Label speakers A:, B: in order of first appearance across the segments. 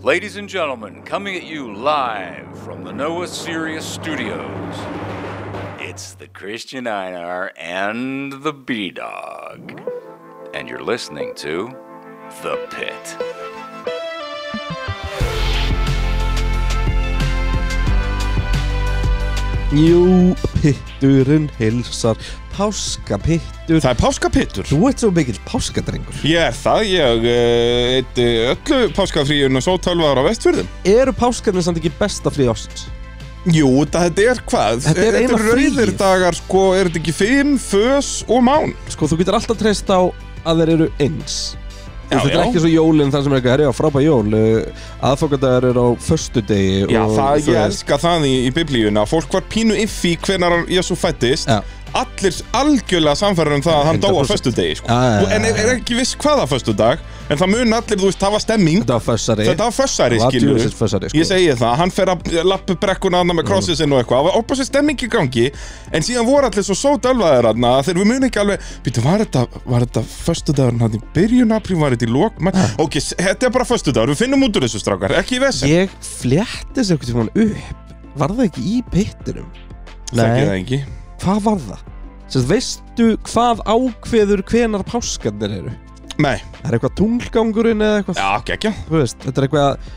A: Ladies and gentlemen, coming at you live from the Noah Sirius Studios, it's the Christian Einar and the B Dog. And you're listening to The Pit.
B: Jú, pitturinn hilsar Páskapittur
C: Það er páskapittur
B: Þú ert svo mikill páskadrengur
C: Ég er það, ég uh, eitti öllu páskafríun og svo tölvaðar á vestfjörðum
B: Eru páskarnir samt ekki besta frí ást?
C: Jú, þetta, þetta er hvað?
B: Þetta er eina
C: eru rauðir
B: fríið.
C: dagar, sko, er þetta ekki fimm, fös og mán?
B: Sko, þú getur alltaf treyst á að þeir eru eins Þú
C: Já,
B: veist, Þetta er
C: já.
B: ekki svo jólinn þar sem er eitthvað Herri, já, frábæ jól Aðfokkandagur er á föstudegi
C: Já,
B: og
C: það,
B: þú
C: ég
B: veist.
C: elska það í, í biblíuna Fólk var pínu yffi hvenar Jésu fættist
B: Já.
C: Allir algjörlega samfærum það að hann dó á
B: 100%.
C: föstudegi sko.
B: Já, já, já,
C: Þú- En er, er ekki viss hvaða föstudag En það mun allir, þú veist, hafa stemming
B: Þetta var fössari
C: Þetta var fössari,
B: var
C: skilur
B: djöfisins fössari, sko. Mm.
C: Ég segi það, hann fer að lappu brekkuna hann með krossið sinn og eitthvað Það var opað sér stemming í gangi En síðan voru allir svo sódölvaðir hann Þegar við munum ekki alveg Býttu, var þetta, var þetta föstudagurinn hann í byrjun apríl Var þetta í lok? Man, ok, s- þetta er bara föstudagur, við finnum út úr þessu strákar Ekki í vesen
B: Ah. Ég fléttis eitthvað tímann upp Var það ekki í pitturum?
C: Þekki það ekki
B: Hvað var það? Sest, veistu hvað ákveður hvenar páskarnir eru?
C: Nei,
B: Það er eitthvað tunglgangurinn eða eitthvað
C: já, gekkja
B: þú veist, þetta er eitthvað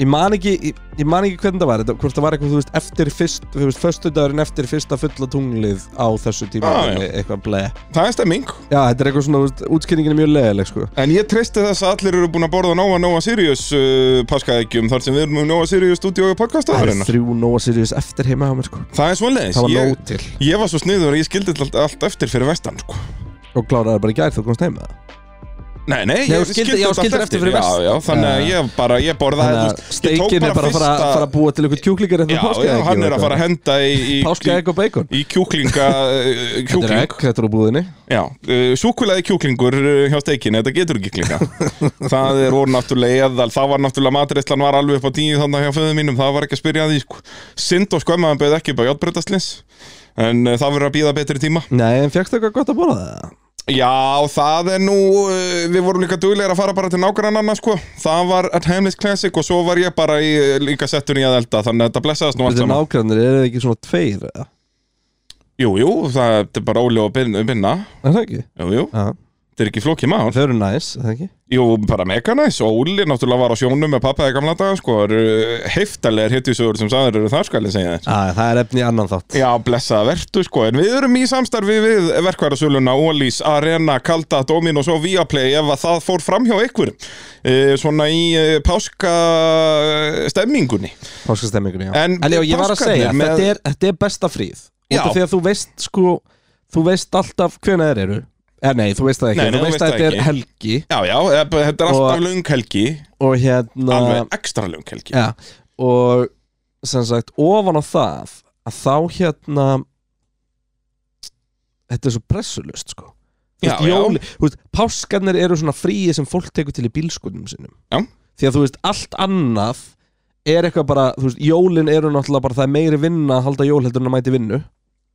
B: ég man ekki, ég, ég man ekki hvernig það var þetta, hvort það var eitthvað, þú veist, eftir fyrst þú veist, föstudagurinn eftir fyrsta fulla tunglið á þessu tíma,
C: Ah, já.
B: eitthvað ble
C: Það er stemming
B: já, þetta er eitthvað svona, þú veist, útskýringin er mjög leðileg sko.
C: En ég treysti þess að allir eru búin að borða Nóa Nóa Sirius uh, paskaðegjum Þar sem við erum með Nóa Sirius stúdíu og
B: það er
C: podcastaðurinn
B: þrjú Nóa Sirius eftir heima á mér sko.
C: Það er svoleiðis
B: það var
C: ég,
B: nóg til
C: ég var svo sniður að ég skildi allt, allt eftir fyrir vestan sko.
B: og kláraði bara í gær þú komst heim með það
C: Nei, nei,
B: Nei,
C: ég
B: þú skildir-
C: skildi
B: já,
C: þetta
B: skildir eftir
C: allt eftir
B: fyrir vestan.
C: Já, já, þannig að
B: Já.
C: ég bara, ég borða
B: þannig að steikin er bara að fara, fara að búa til eitthvað kjúklingar eftir
C: Já, já,
B: um páskaegg
C: hann er að fara að henda í, í, í,
B: páskaegg og bacon
C: í kjúklinga uh,
B: þetta er
C: Kjúkling
B: egg, þetta er úr búðinni
C: Já, uh, súkulaði kjúklingur uh, hjá steikinu, þetta getur ekki klinga Það er voru náttúrulega eðal, það var náttúrulega matreyslan var alveg upp á tíu þannig hjá föðu mínum, það var ekki að spyrja að því sko. Sind og skömmaðan beðið ekki upp á játbreytaslins En uh, það verður að býða betri tíma
B: nei, en fjöxt eitthvað gott að borða það?
C: Já, það er nú, uh, við vorum líka duglegir að fara bara til nágrannanna sko Það var At Timeless Classic og svo var ég bara í, eh, líka settur í að elda Þannig að þetta blessaðast nú allt
B: Þetta er
C: saman
B: nágrannir, eru þið ekki svona tveir? eða?
C: Jú, jú, það er bara óli og bin- binna
B: Er það ekki?
C: Jú, jú,
B: Já.
C: þetta er ekki flókið mál
B: Þau eru næs, er það ekki?
C: Jú, bara mega næs Óli náttúrulega var á sjónum með pappaði gamla daga sko eru Heiftalegir hittjusögur sem sagður eru þar skal ég segja þér
B: Æ, það er efni í annan þátt
C: Já, blessaða vertu sko, en við erum í samstarfi við verkværasöluna, Ólís, Arena, Kalda, Dominos og Viaplay ef að það fór fram hjá ykkur e, svona í e, páska e, stemmingunni.
B: Páskastemmingunni, já
C: En
B: já, ég var að
C: páskarnir
B: segja,
C: með-
B: þetta, er, þetta er besta fríð
C: Já.
B: Út af því að þú veist, sko Þú veist alltaf hvena þeir eru Eh, nei, þú veist það ekki
C: Nei, nei,
B: Þú veist að þetta er
C: ekki.
B: helgi
C: Já, já, e, b- þetta er
B: Og-
C: alltaf löng helgi,
B: Og hérna
C: alveg ekstra löng helgi.
B: ja, Og sem sagt, ofan á það Að þá hérna Þetta er svo pressulust, sko Þú
C: Já,
B: veist,
C: já.
B: jóli, þú veist, páskarnir eru svona fríi sem fólk tekur til í bílskunum sinum
C: Já.
B: því að þú veist, allt annað er eitthvað bara, þú veist, jólin eru náttúrulega bara það er meiri vinna að halda jól heldur en að mæti vinnu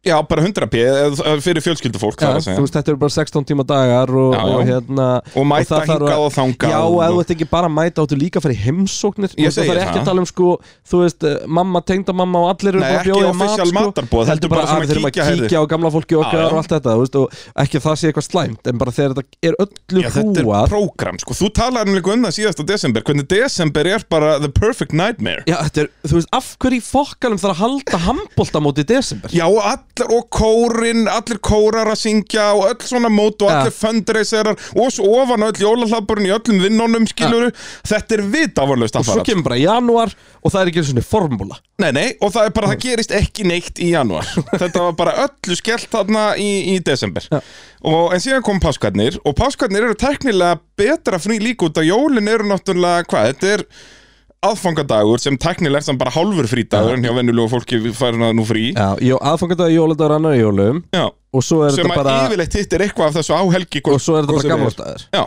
C: Já, bara 100 p, e, fyrir fjölskyldufólk þar
B: þú
C: að segja.
B: veist, þetta eru bara 16 tíma dagar og,
C: Já, já.
B: og hérna
C: Og mæta
B: það þarf að-
C: hingað og þangað.
B: Já,
C: og-
B: eða þú ert ekki bara að mæta áttu líka að fara í heimsóknir
C: Ég
B: Þú veist,
C: segi
B: Það er ekki
C: það.
B: að tala um sko, þú veist, eh, mamma, tengdamamma og allir eru
C: Nei,
B: bara að
C: ekki
B: bjóða í mat
C: official
B: sko.
C: matarboð, heldur bara
B: að
C: svona
B: við þurfum að
C: kíkja, heyrðu.
B: kíkja á gamla fólki okkar
C: Já, já.
B: og allt þetta, þú veist, og ekki að það sé eitthvað slæmt En bara þegar þetta er öllu
C: Já, þetta er
B: hrúað
C: prógram, sko. Þú talaði nú líka um það síðast á desember, hvernig desember er bara the perfect nightmare.
B: Já, þetta er, þú veist, af hverju í fokkanum þarf að halda handbólta móti í desember?
C: Já, og allir og kórin, allir kórar að syngja og öll svona mót og
B: Ja.
C: allir fundraiserar og svo ofan á öll jólahlaburinn í öllum vinnunum, skiluru. Þetta er vitavarlaust
B: og svo
C: affarað.
B: kemur bara janúar og það er ekki einu svona formúla
C: Nei, nei, og það er bara, það gerist ekki neitt í januar. Þetta var bara öllu skellt þarna í, í desember. Og, en síðan kom páskarnir og páskarnir eru teknilega betra frí líka út að jólin eru náttúrulega, hvað, þetta er aðfangadagur sem teknilega er sem bara hálfur frídagur en hjá vennulegu fólki fær hana nú frí.
B: Já, jó, aðfangandagur jóladagur annar í jólum
C: Já.
B: og svo er
C: sem
B: þetta
C: að
B: bara
C: yfirleitt hittir eitthvað af þessu áhelgi
B: og Sko, svo er þetta bara gamlastaður
C: Já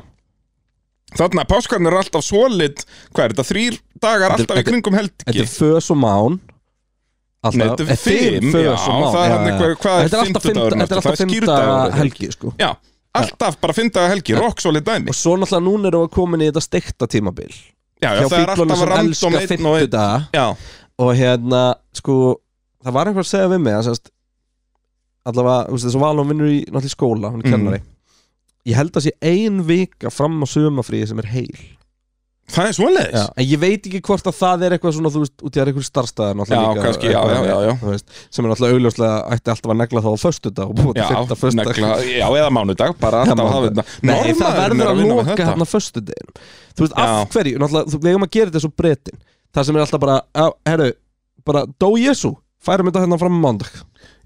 C: Þannig að páskarnir er alltaf solid Hvað er þetta? Þrýr
B: Þetta
C: dagar
B: er-
C: alltaf í
B: þetta-
C: kringum helgi
B: Þetta er fös og mán
C: Nei, þetta er
B: Eh,
C: fimm,
B: fös
C: já,
B: og mán
C: það er
B: já,
C: hann
B: já.
C: eitthvað- hvað er
B: Þetta alltaf fimm-
C: fimmtudagurinn
B: Þetta er alltaf
C: aftur? Það er
B: fimm
C: skýrdagur
B: daga
C: þetta.
B: helgi sko.
C: Já, alltaf bara fimm daga helgi, rock solid dæmi
B: og svo náttúrulega núna erum við komin í þetta steikta tímabil
C: já, já,
B: hjá
C: það er
B: fílunum
C: alltaf
B: sem
C: random
B: elska
C: einn og einn
B: fymtudaga
C: Já,
B: og hérna, sko það var einhver að segja við mig að sérst, allavega, þú veist, þessu valum vinnur í náttúrulega í skóla, hún er
C: Mhm.
B: kennari ég held að sé ein vika fram á sömafríði sem er heil
C: það er svoleiðis
B: já. en ég veit ekki hvort að það er eitthvað svona, þú veist, út í að einhver starfstæðar
C: Já, kannski, já, já, já, já.
B: Veist, sem er náttúrulega augljóslega ætti alltaf að negla þá á föstudag og búið til fyrta föstudag
C: negla, já, eða mánudag, bara alltaf að hafa þetta
B: Nei, það
C: Norðmaðurinn
B: verður
C: er
B: að
C: vinna við
B: loka
C: þetta.
B: hérna föstudeginum Þú veist, af
C: Já.
B: hverju, náttúrulega, þú vegum að gera þetta svo breytin Það sem er alltaf bara, á, herru, bara Dó Jésu, færum þetta hérna fram á mándag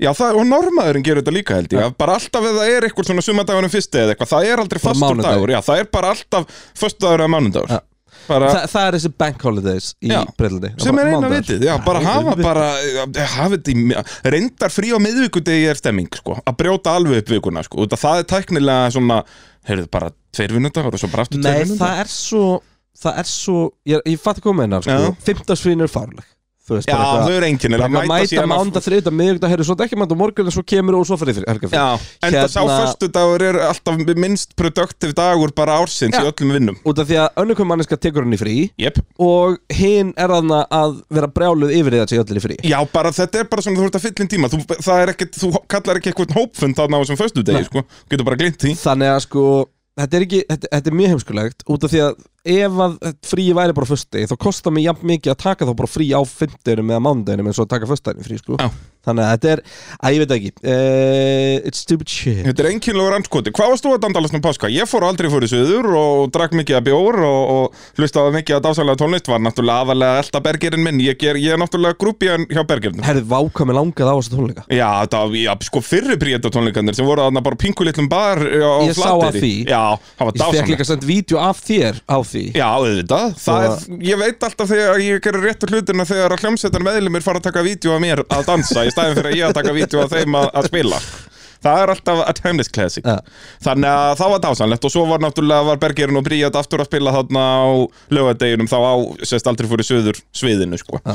C: Já, það, og normaðurinn gerur þetta líka held ég að Bara alltaf ef það er eitthvað svona sumadagunum fyrsti eða eitthvað Það er aldrei
B: Bara
C: fastur
B: mánudagur.
C: dagur, já, það er bara alltaf Föstu dagur eða mánudagur
B: Já.
C: bara,
B: Þa, Það er þessi bank holidays í
C: Já,
B: Breitlandi
C: Sem er eina vitið, já, bara hafa bara eh, Hafa þetta í, mi- reyndar frí á miðvikudegi er stemming, sko Að brjóta alveg upp vikuna, sko út af Það er tæknilega svona, heyrðu, bara tveir vinnudagur og svo bara aftur
B: Nei,
C: tveir vinnudagur
B: það er svo, það er svo Ég, ég fatt ekki hvað meina, sko
C: Já.
B: Fymtasvín er fárleg Þú veist,
C: Já,
B: bara eitthvað-
C: þau eru
B: bara
C: einkennilega
B: eitthvað Mæta mánda þriðdag, miðvikdag, herru, svo þetta ekki mánda morgun En svo kemur og svo farið fyrir helgafrí
C: Já, en það sá fyrstu dagur er alltaf minnst produktiv dagur bara ársins
B: Já.
C: í öllum vinnum
B: Út af því að önnugum manneska tekur hann í frí
C: Jep
B: og hinn er aðna að vera brjáluð yfir því að segja öllir í frí
C: Já, bara þetta er bara svona þú ert að fylla inn tíma Þú, það er ekkit, þú kallar ekki eitthvað hópfund þarna á þessum föstu degi,
B: Nei.
C: sko Getur bara glint því
B: þannig að sko þetta er, ekki, þetta, þetta er mjög heimskulegt út af því að ef að fríi væri bara föstudegi þá kostar mér jafn mikið að taka þá bara frí á fymtudeginum eða mánudeginum eins og að taka föstudeginu frí sko
C: Já.
B: þannig að þetta er, að ég veit ekki uh, it's stupid shit
C: Þetta er einkennilega rannskoti Hvað varst þú að dandalast um páska? Ég fór aldrei fyrir suður og drakk mikið að bjór og, og hlustaði mikið að dásalega tónlist var náttúrulega aðalega elta bergerinn minn Ég, ger, ég er náttúrulega grúpiðan hjá bergerinum
B: herðu váka mig langað á þessu tónleika
C: Já, það, já, sko fyrri príeta tónleikandir sem voru þarna bara pinkulitlum bar eh, á
B: Ég sá að
C: Flateyri.
B: því.
C: Já, það var
B: ég fekk
C: dásamlega
B: líka sendt vídeo af þér á því
C: Já, auðvitað Það er, Ég veit alltaf þegar ég gerir réttu hlutina þegar að hljómsveitar meðlumir fara að taka vídeo af mér að dansa í staðin fyrir að ég að taka vídeo af þeim að, að spila Það er alltaf a timeless classic
B: Ja.
C: Þannig að það var dásanlegt og svo var náttúrulega var Bergerinn og Bríat aftur að spila þarna á lögadeginum þá á, sérst aldrei fóru söður sviðinu sko
B: Ja.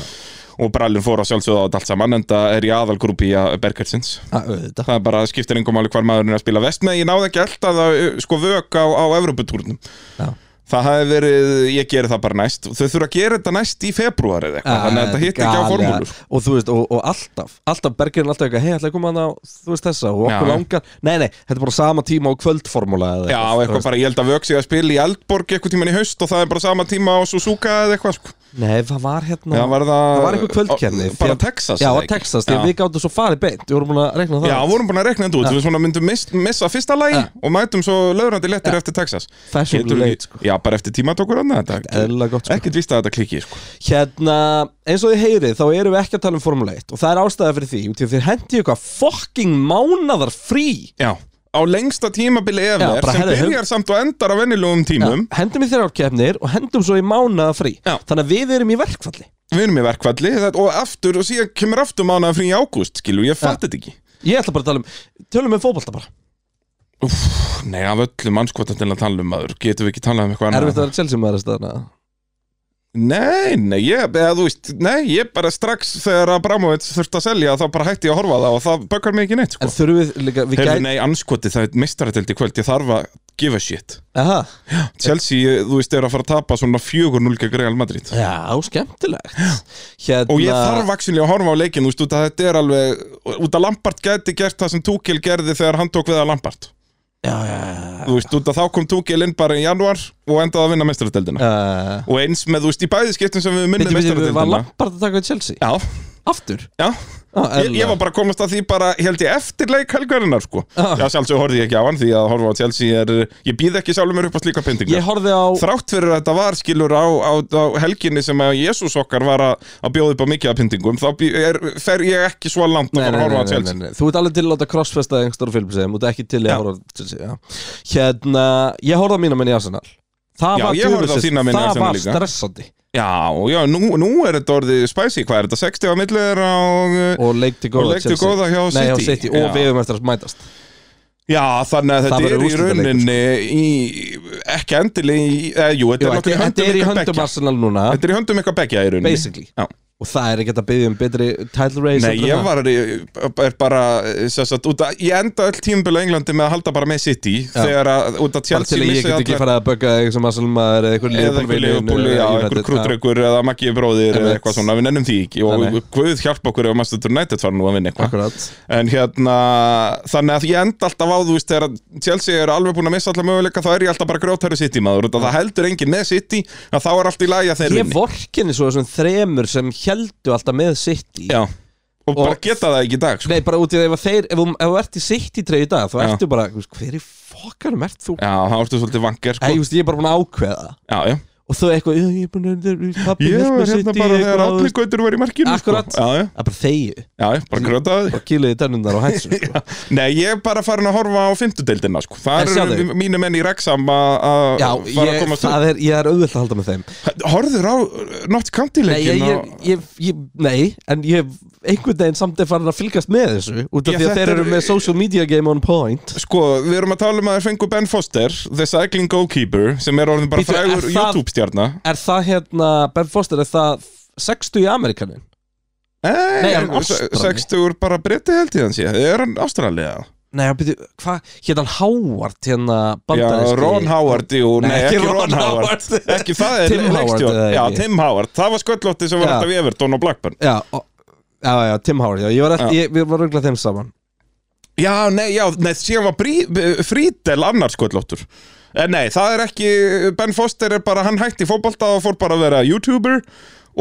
C: og brallin fór að sjálfsögða á þetta allt saman en það er í aðalgrúpi í Bergersins
B: að auðvitað
C: það er bara skiptir engum máli hvar maðurinn er að spila vest með ég náði ekki alltaf að uh, sko vök á, á Evropatúrnum
B: Já.
C: það hafi verið, ég geri það bara næst þau þurfa að gera þetta næst í februar eða eitthvað þannig að þetta hitt ekki á
B: Ah, Galið.
C: formúlu sko.
B: og þú veist, og, og alltaf, alltaf bergirinn alltaf eitthvað, hei, ætlaði að koma hann á, þú veist þessa og okkur
C: Já.
B: langar, nei, nei, þetta er bara sama tíma á kvöldformúla eða
C: já,
B: þú
C: eitthvað
B: veist.
C: bara, ég held að vök sig að spila í Eldborg eitthvað tíman í haust og það er bara sama tíma á Suzuka eða eitthvað sko.
B: Nei, það var hérna
C: Já, var það-
B: var einhver kvöldkenni
C: Ó,
B: því
C: bara
B: að-
C: Texas,
B: Já,
C: eða
B: var
C: ekki?
B: Texas, því að
C: Já.
B: við gáttum svo farið beint Við vorum búin að rekna það
C: já, vorum búin að rekna þetta út við svona myndum miss, missa fyrsta lagi
B: Já.
C: og mætum svo lögrandi lettir eftir Texas
B: Fashion
C: Getur ekki-
B: late, sko.
C: já, bara eftir tíma tókur annað þetta
B: Eðlilega gott, sko.
C: ekkert víst að þetta klikki sko.
B: Hérna, eins og þið heyrið, þá erum við ekki að tala um Formule 1 Og það er ástæða fyrir því, út í að þið hendi eitthvað fucking mánadar frí
C: Já, á lengsta tímabili
B: Já,
C: efer
B: bara
C: sem
B: herðu, hef-
C: byrjar samt og endar á venjulegum tímum
B: Hendum við þeirra árkefnir og hendum svo í mánada frí
C: Já.
B: Þannig að við erum í verkfalli
C: Við erum í verkfalli þetta- og aftur og síðan kemur aftur mánuða frí í ágúst skilur, ég fatt þetta ekki
B: Ég ætla bara að tala um, tölum við fótbolta bara
C: Úff, Nei, af öllum anskotan til að tala um maður getum við ekki talað um eitthvað annað
B: Erfitt að vera Chelsea maður að staðna
C: Nei, nei, ég, eða, þú veist, nei, ég bara strax þegar að Bramovits þurfti að selja þá bara hætti ég að horfa á það og það bökkar mig ekki neitt sko.
B: En þurfum við líka, við
C: Heyrðu,
B: gæt
C: nei, anskoti, það er meistarateld í kvöld ég þarf að give a shit
B: Aha,
C: Chelsea, þú veist, er að fara að tapa svona 4-0 gegn Real Madrid
B: já, skemmtilegt Hérna
C: Og ég þarf vaksinlega að horfa á leikin, þú veist, út að þetta er alveg, út að Lampart gæti gert það sem Túkil gerði þegar hann tók við að Lampart.
B: Já, já,
C: Þú veist, út að þá kom Túkil inn bara í januar og endaði að vinna meistaradeldina.
B: já Uh,
C: Og eins með, þú veist, í bæði skiptum sem við
B: Bíddu,
C: minnum
B: bíddu, bíddu, Var
C: meistaradeldina.
B: Lampard að taka við Chelsea?
C: Já,
B: Aftur?
C: já.
B: Ah,
C: Ég, ég var bara að komast að því bara, held ég, eftir leik helgarinnar, sko.
B: Ah.
C: Já, sjálfsög horfði ég ekki á hann því að horfa á Chelsea er, ég býð ekki sjálfur mér upp á slíka
B: Ég
C: pyntingar.
B: horfði á
C: Þrátt fyrir að þetta var skilur á, á, á helginni sem að Jésús okkar var að, að bjóða upp á mikið af pyntingum, þá bý- er, fer ég ekki svo langt um að fara að horfa á Chelsea.
B: nei, nei. Þú ert alveg til að láta crossfesta engstar og film sem Þú ert ekki til í
C: Já.
B: að horfa á Chelsea já. Hérna, ég horfði á mína menn í Arsenal Það
C: Já,
B: var
C: ég horfði á
B: djöfulsins-
C: þína menn í
B: Það
C: Arsenal
B: var
C: líka.
B: stressandi
C: Já, já, nú, nú er þetta orðið spicy, hvað er þetta, 60 á milli þeirra og... uh,
B: Og leik til góða
C: leik til
B: Chelsea.
C: góða hjá
B: Nei, hjá
C: City.
B: City Og
C: Já.
B: við höfum eftir að mætast
C: Já, þannig
B: Það
C: að þetta er
B: verður
C: í
B: úrslitaleikur, sko.
C: rauninni í, ekki endilega í, eh,
B: Jú,
C: jú, þetta er
B: Þetta
C: náttúrulega
B: þetta er í
C: í höndum
B: höndum
C: ykkar beggja.
B: Arsenal núna
C: Þetta er í höndum ykkar beggja í rauninni.
B: Basically.
C: Já,
B: og það er ekki hægt að byggja um betri title race
C: Nei,
B: heldur en
C: ég
B: það.
C: var er bara eh, sem sagt, út að, ég enda öll tímabili á Englandi með að halda bara með City þegar að, út
B: bara
C: að
B: til
C: Chelsea
B: að ég
C: missi
B: get ekki
C: alla-
B: farið að bögga eitthvað sem Asselmaður eða eitthvað
C: eða eitthvað liðbúli, já, eitthvað krútrekur eða Maggi bróðir eða
B: Einmitt.
C: eitthvað svona, við nennum því ekki
B: Nei, nei.
C: og Guð hjálpa okkur ef Manchester United var nú að vinna eitthvað
B: Akkurat
C: En hérna, þannig að ég enda alltaf á, þú veist, þegar Chelsea eru alveg búin að missa alla möguleika, þá er ég alltaf bara grjótæru City maður, út að það heldur enginn með City, að þá er allt í lagi að þeir
B: Ég
C: vinni.
B: vorkinni svo þessum þremur sem heldu alltaf með sitt í
C: Já, og, bara
B: Og-
C: geta það ekki í dag, sko.
B: Nei, bara út í það ef að þeir, ef þú, ef þú ert í sitt í treyju í dag þá
C: Já.
B: ertu bara, þú veist, hver í fokkanum ert þú?
C: Já, þá ertu svolítið
B: Nei,
C: vangar, sko.
B: ég veist, ég er bara búin að ákveða
C: já, já.
B: og þau eitthvað, "Jú, ég er búin að pappi
C: Ég
B: vill með
C: var hérna
B: City,
C: bara
B: eitthvað,
C: þegar
B: þú
C: allir
B: veist.
C: gautur var í markinu, sko.
B: Akkurat.
C: Já, já,
B: Það er bara þegju
C: já, já, bara grjótaði.
B: og kýlaði tennundar og hætsu sko.
C: Nei, ég er bara farin að horfa á fymtudeildina, sko.
B: En
C: Það
B: sjáðu.
C: eru mínu menn í reksam að
B: Já,
C: að fara að
B: ég,
C: komast
B: það er, ég er auðvöld að halda með þeim
C: upp. Horður á
B: Nei,
C: Notts
B: ég,
C: County-leikin
B: ég, ég, ég, nei en ég hef einhvern veginn samt er farin að fylgast með þessu út af
C: Já,
B: því að
C: þetta
B: þeir eru
C: er-
B: með social media game on point
C: Sko, við erum að tala um að þeir fengu Ben Foster, The Cycling Goalkeeper, sem er orðin bara
B: Bíddu, er það-
C: frægur YouTube-stjarnar.
B: Er það hérna, Ben Foster, er það 60 í Amerikanin? Nei, er hann Ástrali?
C: 60 bara breyti held ég hans ég, er hann ástraliða?
B: Nei, byrju, hvað, hérna Howard, hérna
C: Já,
B: bandaríski
C: Ron Howard, jú, nei, ekki Ron Howard.
B: Howard
C: Ekki það er
B: Tim Howard,
C: leikstjórn.
B: eða
C: Já,
B: ekki?
C: Tim Howard, það var sköllótti sem var
B: Já.
C: alltaf í Everton og Blackburn.
B: Já, og, já, já, Tim Howard, já, ég var, eftir,
C: Já.
B: ég, við varum örugglega þeim saman
C: Já, nei, já, nei, síðan var Brí, Frídel annar sköllóttur. En nei, það er ekki, Ben Foster er bara, hann hætti fótbolta og fór bara að vera YouTuber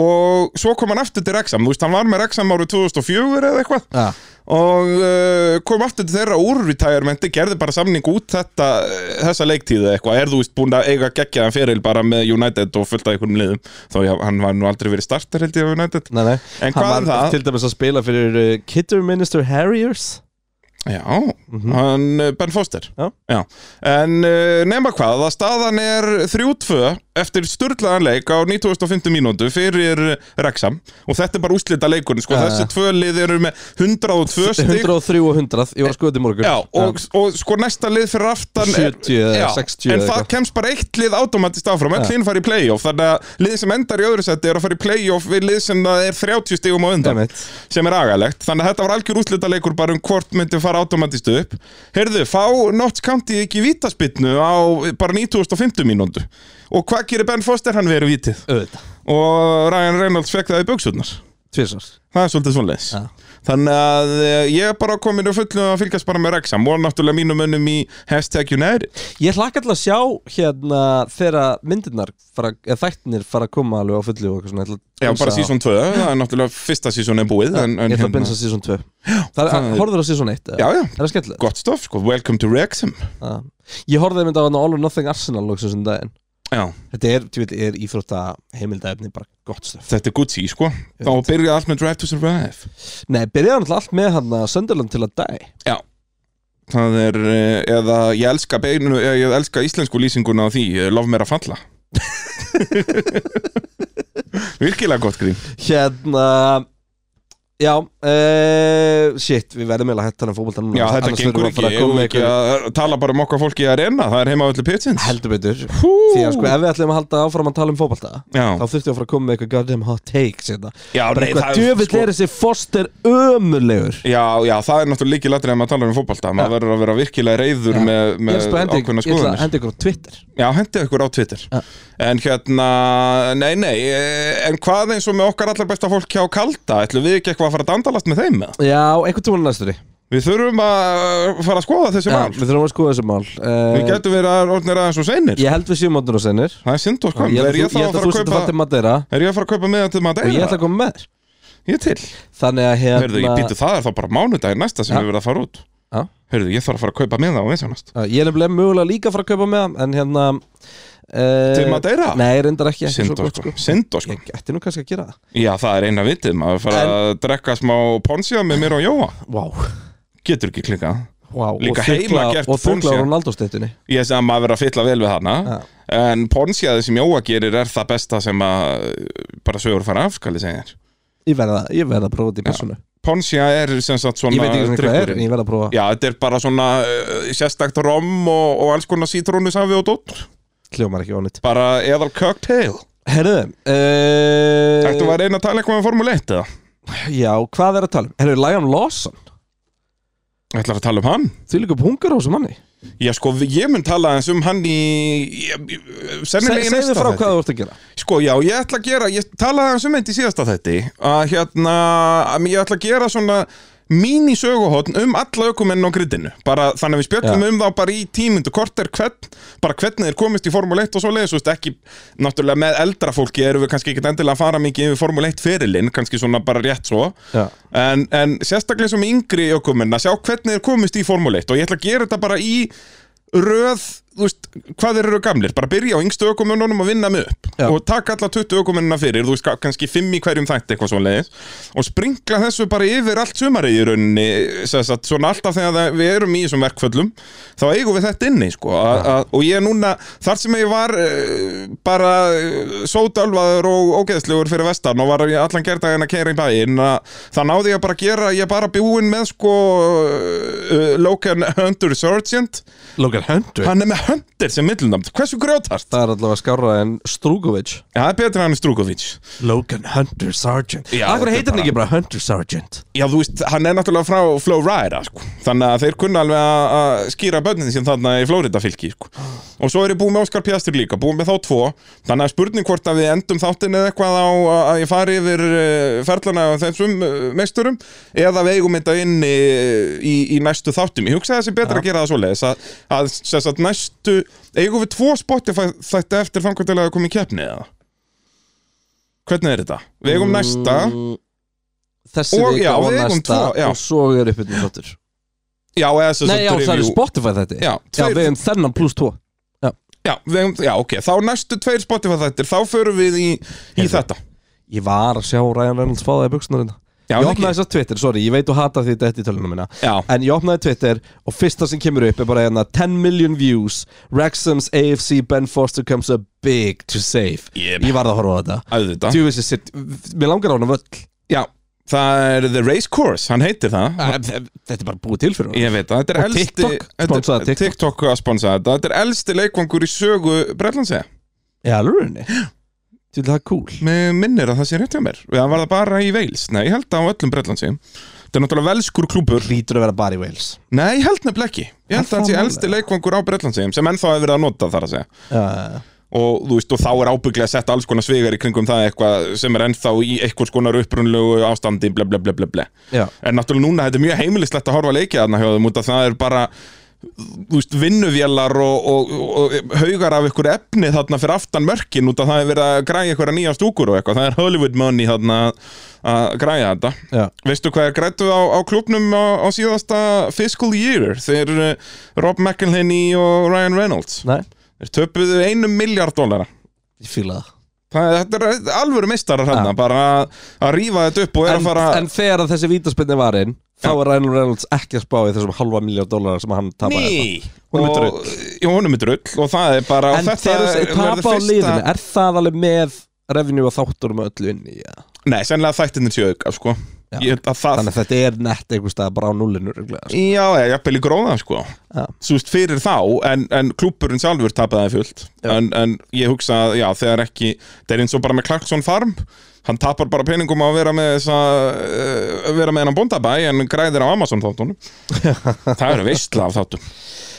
C: og svo kom hann aftur til Rexham, þú veist, hann var með Rexham árið 2004 eða eitthvað
B: Já,
C: og uh, kom aftur til þeirra úr retirementi, gerði bara samning út þetta, eh, þessa leiktíðu eitthvað er þú veist búin að eiga geggjaðan feril bara með United og fullt af einhverjum liðum þó ég, hann var nú aldrei verið starter held ég á United
B: nei, nei
C: En
B: Hann
C: hvað um
B: var
C: það?
B: til dæmis að spila fyrir uh, Kidderminister Harriers
C: Já, hann uh, Ben Foster
B: Já.
C: En uh, nema hvað, að staðan er 3-2 eftir sturlaðan leik á 9.50 mínútu fyrir Rexham og þetta er bara úslita leikurinn sko,
B: Já.
C: þessi tvö lið eru með 102 stig
B: 103 og 100, ég var að skoða þetta í morgun
C: Já, og, og sko næsta lið fyrir aftan er-
B: 70 eða
C: Já,
B: 60
C: En
B: eða
C: það
B: eitthvað.
C: kemst bara eitt lið automatist áfram Öll liðin fara í playoff Þannig að lið sem endar í öðru seti er að fara í playoff Við lið sem það er 30 stigum á undan
B: Einmitt.
C: Sem er agalegt Þannig að þetta var algjör útlitaleikur Bara um hvort myndi fara automatist upp Heyrðu, fá Notts County ekki vítaspinnu Á bara 9.50 mínúndu Og hvað gerir Ben Foster? Hann verið vítið
B: Auðvitað,
C: Og Ryan Reynolds fekk það í buksutnar
B: tvisar
C: Það er svolítið svoleiðis
B: Já.
C: Þannig að eh, ég er bara komin og fullu að fylgjast bara með Rexham og náttúrulega mínum önnum í hashtag United
B: Ég hlakka til að sjá hérna þegar myndirnar fara, eða þættinir fara að koma alveg á fullu og eitthvað svona ég ætla að
C: Já, bara
B: binsa á-
C: season 2, það er náttúrulega fyrsta season er búið en, en
B: Ég ætla að bensa season 2 Það
C: það
B: er,
C: er-
B: horfður á season 1
C: Já, já.
B: Er það skemmtilegt?
C: gott stoff, sko, welcome to Rexham
B: Já. Ég horfði mynd á hann All or Nothing Arsenal loksins um daginn
C: Já,
B: Þetta er, þú veit, er íþrótta heimildaefni bara gott stöf
C: þetta er Gucci, sko Þá byrjaði allt með Drive to Survive
B: Nei, byrjaði hann allt með hann að Sönderland til að dæ
C: Já Það er, eh, eða ég elska beinu, eh, ég elska íslensku lýsinguna á því, eh, lof mér að falla Virkilega gott grín
B: Hérna Já, uh, shit, við verðum eiginlega hættan að fótbolta núna
C: Já, þetta
B: annars
C: gengur
B: þurfum við
C: ekki,
B: bara að
C: ég
B: koma með
C: ekki
B: einhverju-
C: að tala bara um okkar fólki í arena, það er heima öllu pitsins
B: Heldur betur
C: Hú.
B: Því að sko, ef við ætlum að halda áfram að tala um fótbolta
C: Já.
B: þá þurftum við að fara að koma með eitthvað goddamn hot takes hérna.
C: Já,
B: bara
C: nei, það
B: eitthvað
C: er-
B: djöfitt
C: sko-
B: er þessi foster ömurlegur
C: Já, já, það er náttúrulega líki latri að maður talar um fótbalta, maður verður að vera virkilega reyður með,
B: ég
C: með
B: er sko hendi,
C: ákveðna
B: ég ætla að
C: skoðunir
B: hendi ykkur á Twitter
C: Já, hendi ykkur á Twitter
B: Já.
C: En hérna, nei, nei, eh, en hvað eins og með okkar allar besta fólk hjá Kalda, ætlum við ekki eitthvað að fara að dandalast með þeim með?
B: já, einhvern tímann næstur í
C: Við þurfum að uh, fara að skoða þessi
B: já,
C: mál
B: við þurfum að skoða þessi mál
C: Við
B: uh,
C: getum verið að orðnir aðeins og seinir
B: ég held við séum áttur og senir
C: Það er synd og skömm,
B: ég
C: er
B: held
C: ég þá
B: að þú- ég held
C: að fara
B: að þú
C: að
B: sért að fara til
C: kaupa
B: Madeira
C: Er ég að fara að kaupa með til
B: og ég
C: Madeira?
B: ætla að koma með þér
C: Ég er til
B: þannig að
C: Herðu, ég
B: hérna
C: býtu það er þá bara mánudagir næsta sem
B: Já.
C: við verðum að fara út
B: Já.
C: Herðu, ég þarf að fara að kaupa með það á vinsjónast
B: Já, ég er nefnilega mögulega líka að fara að kaupa með hann en hérna uh,
C: Til Madeira?
B: nei, reyndar ekki, ekki svo
C: Synd og
B: gott
C: sko,
B: sko
C: synd og sko
B: ég ætti nú kannski að gera það
C: Já, það er eina vitið, maður fara
B: En-
C: að drekka smá ponsja með mér og Jóa
B: wow.
C: Getur ekki klikkað
B: Wow.
C: Líka
B: og þukla,
C: heima gert
B: og þukla
C: Borussia.
B: Ronaldo steytunni
C: Ég segi að maður verður að fylla vel við hana
B: Já.
C: En ponsjaði sem Jóa gerir er það besta sem að bara sögur fara af, skal ég segja þér
B: Ég verða, ég verða að prófa þetta í persónu
C: Ponsja er sem sagt svona
B: Ég veit ekki svona hvað er,
C: drykkurinn.
B: en ég verða að prófa
C: Já, þetta er bara svona uh, sérstakt rom og, og alls konar sítrónusafi og dótt
B: Hljómar ekki ónýtt
C: Bara eðal cocktail
B: Herðu uh,
C: Þetta var einn að tala eitthvað um Formule 1 eða?
B: Já, hvað er að tala um? Herðu, Lion Lawson
C: Ætlar að tala um hann?
B: Því líka pungar á þessu manni
C: Já, sko, við- ég mun tala eins um hann í... ég-
B: Se-
C: Sennilega í
B: Segðu
C: næsta
B: frá
C: þætti.
B: hvað þú ert að gera
C: Sko, já, ég ætla að gera, ég talaði aðeins um eitt í síðasta þætti að hérna, að ég ætla að gera svona mínisöguhotn um alla ökumenn á griddinu, bara þannig að við spjöllum
B: Já.
C: um þá bara í tímundu korter hvern, bara hvernig þeir komist í Formule 1 og svo leiðis, veist, ekki náttúrulega með eldra fólki erum við kannski ekkit endilega að fara mikið yfir Formule 1 ferilinn, kannski svona bara rétt svo
B: Já.
C: en, en sérstaklega sem yngri ökumenn að sjá hvernig þeir komist í Formule 1 og ég ætla að gera þetta bara í röð, þú veist, hvað þeir eru gamlir bara byrja á yngstu ökumennunum og vinna mig upp
B: Já.
C: og taka alla 20 ökumennuna fyrir þú veist, ka- kannski 5 í hverjum þætti eitthvað svo leiðis og springla þessu bara yfir allt sumarið í rauninni, sem sagt, svona alltaf þegar það- við erum í þessum verkföllum þá eigum við þetta inni, sko a, a, og ég núna, þar sem ég var uh, bara uh, sótölvaður og ógeðslegur fyrir vestan og var ég allan gerdaginn að keira í bæinn að það náði ég bara að gera, ég er bara búinn með sko uh, Logan Hunter Sergeant
B: Logan Hunter
C: hann er með Hunter sem millunamn, hversu grjótart
B: Það er allavega skárra en Strugovic
C: það er betur en hann Strukovic
B: Logan Hunter Sergeant
C: Já,
B: Akkur
C: þetta er
B: heitir hann
C: bara-
B: ekki bara Hunter Sergeant
C: Já, þú veist, hann er náttúrulega frá Flowrider, sko. Þannig að þeir kunna alveg að- að skýra börnin sín þarna í Florida fylki, sko. Og svo er ég búið með Óskar Pjastur líka, búið með þá tvo. Þannig að spurning hvort að við endum þáttin eða eitthvað á að- að ég fari yfir eh, ferlana á þessum eh, meisturum eða við eigum þetta inn í, í, í næstu þáttum. Ég hugsa þessi betra að gera það svoleiðis að, að, að, að næstu, eigum við tvo Spotify þetta eftir þangar til að koma í keppni eða? Hvernig er þetta? Við eigum næsta...
B: Mm, Þessi
C: Og- já,
B: vika og
C: við eigum
B: næsta
C: tvo, já.
B: Og svo er uppið með þáttur
C: Já, eða sem
B: Nei,
C: sagt
B: já, það er
C: review.
B: Spotify þetta
C: Já, tveir-
B: við erum þennan pluss 2
C: Já, við, já, ok, þá næstu tveir Spotify þættir, þá förum við í, í
B: Heyrðu.
C: þetta
B: Ég var að sjá Ryan Reynolds fáða í buksnarinn
C: Já,
B: Ég
C: ekki.
B: opnaði þess að Twitter, sorry, ég veit þú hata því þetta í tölunum minna
C: Já.
B: En ég opnaði Twitter og fyrsta sem kemur upp er bara hérna 10 million views Wrexham's AFC Ben Foster comes up big to save
C: Yep.
B: Ég varð að horfa á þetta
C: Auðvitað
B: Djúvis er sitt, mér langar á hann völl
C: Já, það er The Race Course, hann heitir það
B: Þetta er bara búið til fyrir
C: Ég veit það, þetta er
B: Og
C: elsti
B: TikTok
C: þetta er-
B: sponsaði TikTok.
C: TikTok að sponsaði þetta, þetta er elsti leikvangur í sögu Bretlandsega
B: Já, alveg Þú vil það er cool
C: Mér minnir að það sé rétt hjá mér Eða var það bara í Wales, nei, ég held það á öllum Bretlandsegum Þetta er náttúrulega velskur klúpur
B: Lítur að vera bara í Wales
C: Nei, ég held nefnilega ekki Ég held
B: Það
C: að það sé
B: er
C: elsti leikvangur á Bretlandsegum sem ennþá hefur verið að nota þar að segja
B: uh,
C: og þú veist, og þá er ábygglega sett alls konar svegar í kringum það eitthvað sem er ennþá í eitthvað konar upprunlegu ástandi ble ble ble ble ble
B: Já,
C: en náttúrulega núna þetta er mjög heimilislegt að horfa að leikja þarna hjá þeim út að það er bara þú veist, vinnuvélar og, og, og, og haugar af ykkur efni þarna fyrir aftan mörkin út að það er verið að græja ykkur nýja stúkur og eitthvað, það er Hollywood money þarna að- að græja þetta
B: já
C: Veistu hvað er grættu á, á klubnum á, á síðasta fiscal year þeir uh, Rob McElhenney og Ryan Reynolds
B: Nei,
C: þeir töpuðu einum miljard dólara
B: ég fíla það
C: Það, þetta er alvöru meistarar hann
B: Ja.
C: bara að- að rífa þetta upp og er
B: en,
C: að fara
B: en þegar að þessi vítaspinni var inn þá
C: Já.
B: er Ryan Reynolds ekki að spá í þessum halva miljón dólar sem hann tapaði
C: Ný
B: Honum er
C: og, Jú, honum er drull og það er bara og
B: En
C: þetta
B: þegar þessi
C: er-
B: tapa
C: verður
B: á
C: fyrsta-
B: liðinu er það alveg með revenue og þátturum og öllu inni ja.
C: Nei, sennilega þættinir séu auka sko.
B: Já.
C: Ég held að það
B: þannig að þetta er nett einhver stað bara á nullinu reglega, sko.
C: Já, ég er jafnvel í gróða sko.
B: Ja.
C: Svo veist, fyrir þá en, en klúppurinn sjálfur tapaði fullt
B: Já.
C: en, en ég hugsa að, já, þegar ekki það er eins og bara með Clarkson Farm hann tapar bara peningum á að vera með þessa, uh, vera með hennan bóndabæ en græðir á Amazon þáttunum það eru veistla af þáttum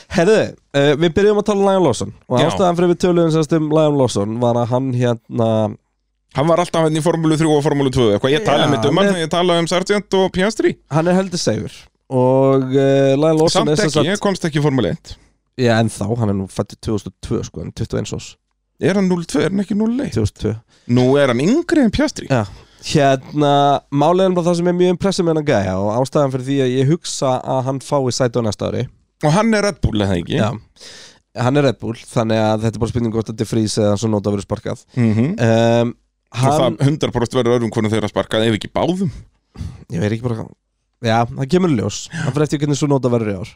B: Herðu, uh, við byrjum að tala um Lion Lawson og
C: Já.
B: ástæðan fyrir við töluðum semst um Lion Lawson var að hann hérna
C: Hann var alltaf hérna í Formúlu 3 og Formúlu 2 eitthvað, ég
B: Já,
C: talaði með um
B: með-
C: hann, ég talaði um Sargent og Piastri
B: hann er heldur segur og uh, Lion Lawson
C: Samt
B: er
C: ekki,
B: semst
C: ég komst ekki í Formúlu 1
B: já en þá, hann er nú fættið 2002 sko, hann er 21 ás,
C: Er hann 0-2, er hann ekki 0-1
B: 2002
C: Nú er hann yngri en Piastri
B: Já, hérna, málega bara það sem er mjög impressið með hennan gæja og ástæðan fyrir því að ég hugsa að hann fái sæti á næsta ári
C: Og hann er Red Bull, eða ekki
B: Já, hann er Red Bull, þannig að þetta er bara spurning hvort þetta er frís eða svo nota verið sparkað
C: mm -hmm.
B: um, Hann,
C: Hann... Það 100% verður öðrum hvernig þeirra sparkað ef ekki báðum
B: ég veit ekki bara hvað Já, það kemur í ljós, hann fyrir eftir hvernig svo nota verður í ár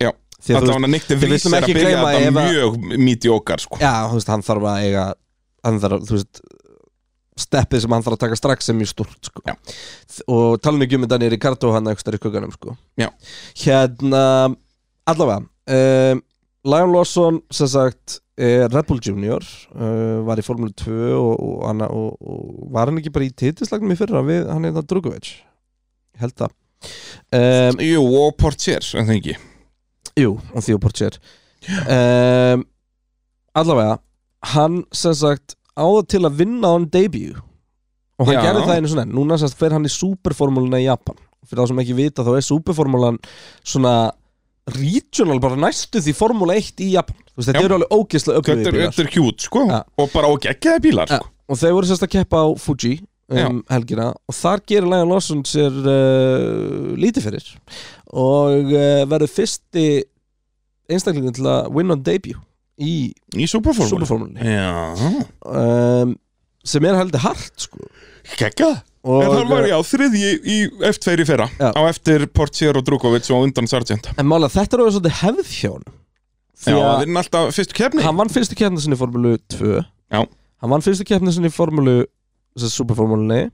C: Já.
B: Því að
C: Þetta
B: þú veist,
C: hann að Nikti
B: við
C: Vrís
B: vissum
C: er að
B: ekki
C: byrja
B: gleyma
C: þetta
B: ef að-
C: mjög mítiókar sko.
B: já, þú veist, hann þarf að eiga hann þarf, að, þú veist steppið sem hann þarf að taka strax sem mjög stúrt sko.
C: Já.
B: og talan ekki um Daniel Ricardo hann ekki stærri kukkanum sko.
C: Já.
B: hérna, allavega um, Lion ehm, Lawson sem sagt eh, Red Bull Junior uh, var í Formule 2 og, og, anna, og, og var hann ekki bara í titislagnum í fyrra við hann er það Drugovic held það um,
C: Jú, og Portier, en það ekki
B: Jú, og Theo Porcher um, Allavega hann sem sagt áða til að vinna á hann debut og hann
C: Já.
B: gerði það einu svona núna sem sagt fer hann í superformúluna í Japan fyrir þá sem ekki vita þá er superformúlan svona regional bara næstu því formúla 1 í Japan Þú veist, þetta
C: Já.
B: eru alveg ógeðslega
C: Þetta
B: öflugir
C: er-
B: bílar.
C: þetta er hjút, sko
B: Ja.
C: Og bara ógeggjaði bílar,
B: Ja,
C: sko
B: og þeir voru sérst að keppa á Fuji um helgina og þar gerir Lion Lawson sér uh, lítið fyrir og uh, verður fyrsti einstaklingin til að win on debut í
C: Í superformúli
B: superformulni
C: Já,
B: um, sem er heldur hart sko.
C: geggjað
B: og, eh,
C: En það var já, þriðji í F2 í fyrra
B: Já.
C: Á eftir Portier og Drukovic og á undan Sargent
B: uh, en mála þetta eru svolítið hefð hjá hann
C: Já,
B: því
C: það
B: að
C: er alltaf fyrstu kefni
B: hann vann fyrstu keppni sinni í Formúlu 2
C: Já.
B: hann vann fyrstu keppni sinni í Formúlu superformúlinni,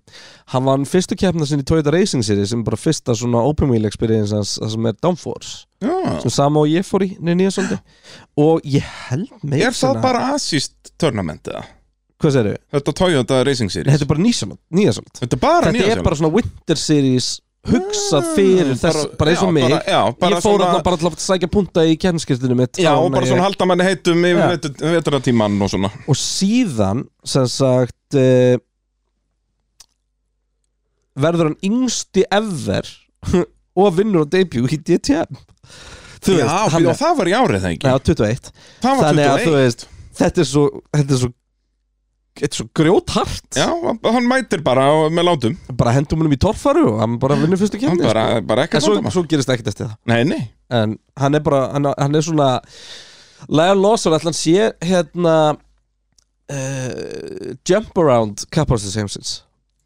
B: hann vann fyrstu keppna sinni í Toyota Racing Series sem er bara fyrsta svona open wheel experience hans það sem er downforce
C: Já,
B: sem sama og ég fór í nýja svolítið og ég held meira
C: er það
B: að-
C: bara asist törnament eða?
B: hvað segirðu?
C: Þetta Toyota Racing Series
B: þetta er bara nýja nýja svolítið
C: Þetta er bara
B: þetta er bara svona winter series hugsað fyrir þess bara eins og mig
C: bara, já, bara
B: ég fór svona... bara til að sækja punta í kemskirtinu mitt
C: Já,
B: áður
C: og
B: en
C: bara
B: ég-
C: svona halda manni heitum
B: Já.
C: yfir vetur- vetrartímann og svona
B: og síðan sem sagt uh, verður hann yngsti ever og vinnur á debut í DTM þú
C: Já,
B: veist,
C: býðu,
B: hann
C: og það var í árið það ekki
B: Já, 21
C: Það var
B: Þannig að þú
C: 21
B: veist Þetta er svo Þetta er svo Þetta er svo grjóthart
C: Já, hann mætir bara á- með látum
B: Bara hendum hennum í torfaru og hann bara vinnur fyrstu
C: Hann
B: kemni
C: bara, bara ekki
B: sko. En svo,
C: vandamál.
B: svo gerist ekkert eftir það
C: Nei, nei
B: En hann er bara Hann, hann er svona Lion Lawson ætla hann sé hérna uh, Jump around Capacity Samsons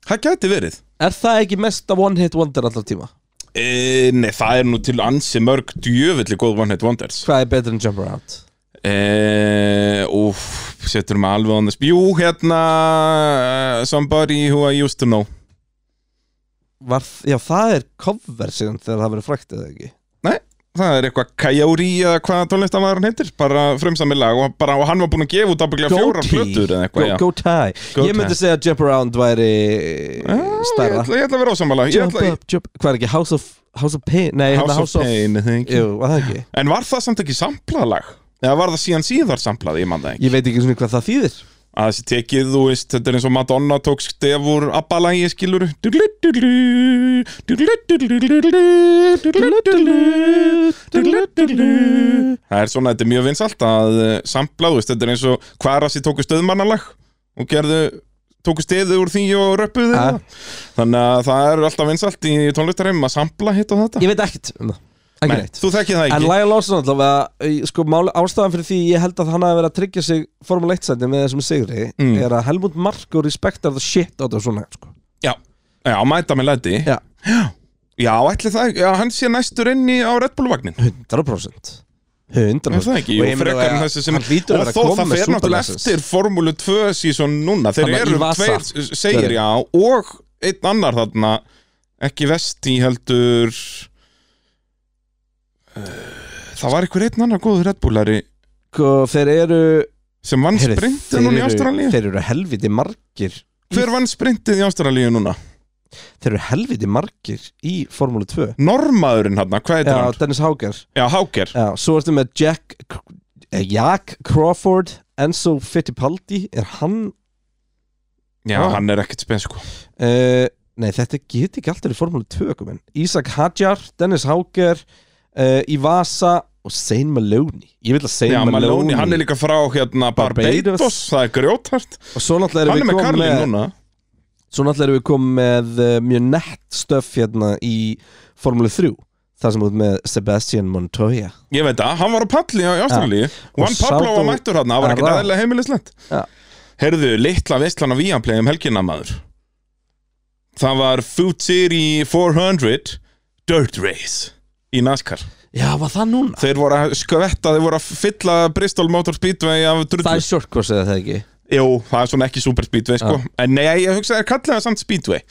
C: Það gæti verið
B: Er það ekki mesta one hit wonder allar tíma?
C: e, Nei, það er nú til ansi mörg djöfulli góð One Hit Wonders
B: Hvað er betur en jump around?
C: e, Úf, setur maður alveg on the spot Jú, hérna eh, Somebody who I used to know
B: Var, já, það er cover síðan þegar það verið frækt eða ekki
C: Nei, það er eitthvað Kajauri eða hvað tónlistamæður hann heitir Bara frumsamið lag og, bara, og hann var búinn að gefa út ábygglega fjórar plötur
B: go,
C: eða eitthvað já.
B: go tie
C: Go
B: Ég myndi
C: tie.
B: segja að jump around væri
C: Já, Ég
B: starra
C: ætla, Eh, ég ætla að vera ósamála Ég
B: Jump
C: ætla,
B: up, jump Hvað er ekki? House of, House of Pain? Nei, hérna
C: House of Pain, I think.
B: Jú, var það ekki?
C: En var það samt ekki samplað lag? Eða var það síðan síðar samplað, ég man það ekki
B: Ég veit ekki svona hvað það þýðir
C: Að þessi tekið, þú veist, þetta er eins og Madonna tók stef úr abbalagi, skilur Það er svona, þetta er mjög vinsalt að eh, sampla, þú veist, þetta er eins og Kvarasi tóku stöðmannalag og gerðu tóku stefið úr því og röppuðu
B: Ja.
C: þeirra Þannig að það er alltaf vinsalt í tónlistarheim að sampla hitt og þetta
B: Ég veit ekkert um það Ekki
C: Nei,
B: neitt
C: þú þekkið það
B: En
C: ekki
B: Lyle Lawson allavega, eh, sko máli, ástæðan fyrir því ég held að hann hafi verið að tryggja sig Formule 1 sæti með þessum sigri
C: Mm.
B: er að Helmut Marko respektar the shit á þetta svona sko.
C: Já, já, mæta með læti
B: Já.
C: Já, ætli það, já, hann sé næstur inn í á Red Bull-vagnin
B: 100% 100%
C: Er það
B: Og
C: ekki? Jú,
B: ég meina,
C: frekar en
B: að-
C: þessi sem
B: hann hlýtur að
C: Og
B: vera að
C: þó
B: koma
C: það
B: með
C: fer náttúrulega
B: Superlicense.
C: eftir Formúlu 2 sísón núna Þeir
B: Þannig að í
C: eru
B: vasa.
C: tveir, s- segir já Og einn annar þarna Ekki vesti heldur uh, Það var einhver einn annar góður Red Bullari
B: sko, Þeir eru
C: Sem vann
B: heyrðu,
C: sprintið núna í
B: eru,
C: Ástralíu
B: þeir eru helviti margir
C: Hver vann sprintið í Ástralíu núna?
B: Þeir eru helviti margir í Formule 2
C: Normaðurinn hann, hvað heitir
B: Já,
C: hann?
B: Dennis Hauger
C: Já, Háker
B: Já, svo ertu með Jack eh, Jack Crawford Enzo Fittipaldi Er hann
C: Já,
B: Já.
C: hann er ekkert sko. spensku
B: uh, Nei, þetta get ekki alltaf í Formule 2 komin. Ísak Hadjar, Dennis Hauger uh, Ivasa og Sein Maloney Ég vil að Sein
C: Já,
B: Maloney,
C: Maloney, hann er líka frá hérna
B: Barbados.
C: Barbados, það er grjóthart
B: Og svo náttúrulega erum
C: Hann er
B: við
C: með
B: komið
C: Karlin
B: með
C: núna
B: Svo náttúrulega erum við komið með uh, mjög nett stöf hérna í Formule 3 þar sem út með Sebastian Montoya
C: Ég veit að, hann var á palli á Ástralíu
B: Og
C: Juan Pablo
B: Sádu-
C: var mættur hann, það var ekkert
B: Arra.
C: aðeinslega heimilislegt
B: Já.
C: Herðu, litla veistlan á Víaplay um helgina maður Það var Food City 400 Dirt Race í NASCAR
B: Já, var það núna?
C: Þeir voru að skvetta, þeir voru að fylla Bristol Motor Speedway af drullu
B: Það er shortcourse eða það ekki
C: Jú, það er svona ekki super speedway sko En nei, ég hugsa að það er kallega samt speedway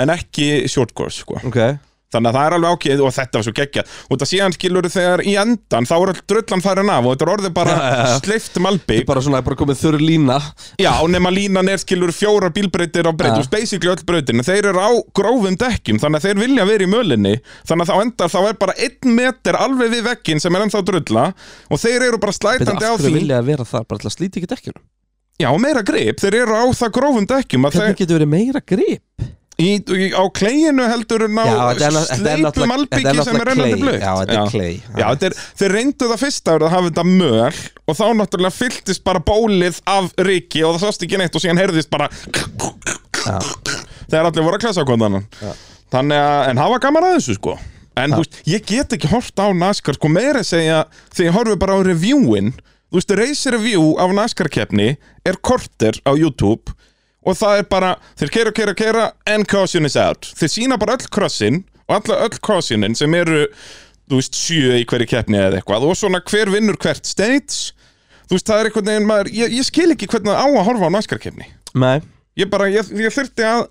C: En ekki short course sko
B: Ok
C: Þannig að það er alveg ákveðið og þetta var svo geggja Og það síðan skilur þegar í endan Þá er all drullan farin af og þetta er orðið bara
B: Já, já, já.
C: Sleift malbygg
B: Bara svona, bara komið þurr lína
C: Já, nema línan er skilur fjóra bílbreytir á breyt
B: Ja.
C: og basically öll breytin þeir eru á grófum dekkjum, þannig að þeir vilja vera í mölinni þannig að þá endar, þá er bara einn meter alveg við vegginn sem er ennþá drulla og þeir eru bara
B: Þetta
C: slætandi á
B: af
C: því
B: hverju vilja að vera þar, bara til að slíti ekki dekkjunum
C: Já, og meira grip, þeir eru á það grófum dekkjum að þeir,
B: Hvernig getur verið meira grip?
C: í, í, á kleyinu heldur en á
B: Já, þetta er nátt- þetta er
C: sleipu
B: náttúrulega- þetta er
C: malbyggi sem er
B: náttúrulega clay.
C: ennandi blöitt
B: Já, þetta er clay.
C: Já, þetta er, þeir reyndu það fyrsta árið að hafa þetta möl og þá náttúrulega fylltist bara bólið af ríki og það sást ekki neitt og síðan heyrðist bara þegar allir voru að klesa á kondanum þannig að, en hafa gaman að þessu sko en þú veist, ég get ekki hort á NASCAR sko meira að segja, þegar ég horfi bara á reviewin, þú veist, race review af NASCAR keppni er korter á YouTube og það er bara þeir keira, keira, keira, and caution is out þeir sína bara öll crossin og alla öll crossininn sem eru þú veist, sjö í hverju keppni eða eitthvað og svona hver vinnur hvert states þú veist, það er einhvern veginn maður ég, ég skil ekki hvernig á að horfa á NASCAR keppni
B: Nei
C: Ég bara, ég, ég þurfti að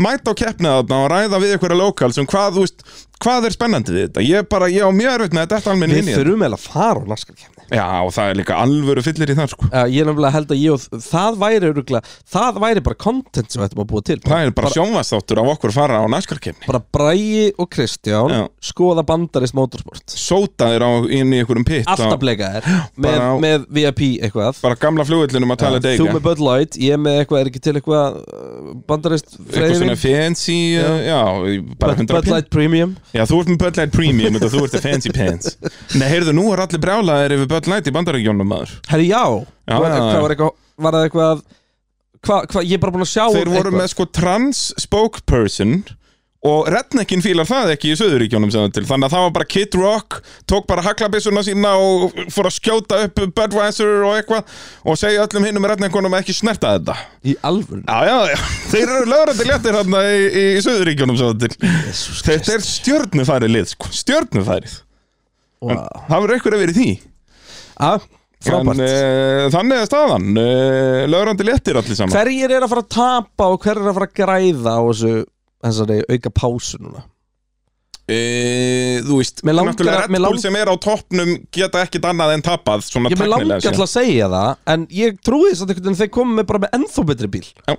C: mæta á keppnið þarna og ræða við ykkur að lokal sem hvað, þú veist, hvað er spennandi við þetta ég bara, ég á mjög erfitt með þetta þetta almenni
B: Við
C: inn í þetta.
B: þurfum eða að fara á naskarkefni
C: Já, og það er líka alvöru fyllir í það, sko
B: Eh, Ég er nefnilega held að ég og það væri öruglega, það væri bara content sem við ættum að búa til
C: Það er bara sjónvastáttur af okkur fara á næskarkeppni
B: bara Bræi og Kristján
C: Já.
B: skoða bandarist motorsport
C: Sótaðir á, inn í einhverjum pitt
B: Alltaf
C: á-
B: bleikaðir með,
C: Bara á-
B: með VIP eitthvað
C: Bara gamla flugullinum að tala
B: Þú
C: degi
B: með Bud Light, ég með eitthvað, er ekki til eitthvað uh, bandarist
C: Eitthvað svona
B: freyðin
C: fancy, eh, já, já bara
B: Bud
C: 100
B: Bud
C: pinn
B: Light Premium
C: Já, þú ert með Bud Light Premium og þú ert að fancy pants Nei, heyrðu, nú er allir brjálaðir yfir Bud Light í bandaríkjónum maður
B: Herri já,
C: Já,
B: var,
C: já, já.
B: hvað var, eitthvað, var það eitthvað hva, hva, Ég er bara búin að sjá
C: Þeir voru
B: eitthvað.
C: með sko trans spokesperson og redneckin fílar það ekki í söðuríkjónum sem það til þannig að það var bara Kid Rock tók bara haglabissuna sína og fór að skjóta upp Budweiser og eitthvað og segja öllum hinnum redneckunum að ekki snerta þetta
B: Í alvöru
C: Já, já, já, þeir eru lögrandi léttir hérna í, í, í söðuríkjónum sem það til
B: Jesus
C: Þetta er stjörnufærið lið sko, stjörnufærið
B: wow.
C: Hafur eitthvað verið í því?
B: ah, Frábært
C: En, eh, Þannig er staðan uh, lögrandi léttir allir saman
B: Hverjir er að fara að tapa og hverjir er að fara að græða á þessu þessari auka pásu núna
C: E, þú veist,
B: Mér langar-
C: náttúrulega Red
B: mér
C: Bull
B: lang-
C: sem er á toppnum geta ekkit annað en tapað svona
B: Ég með langar
C: tæknilega séð.
B: alltaf að segja það en ég trúi þess að einhvern veginn þeir komið með bara með ennþá betri bíl
C: Já.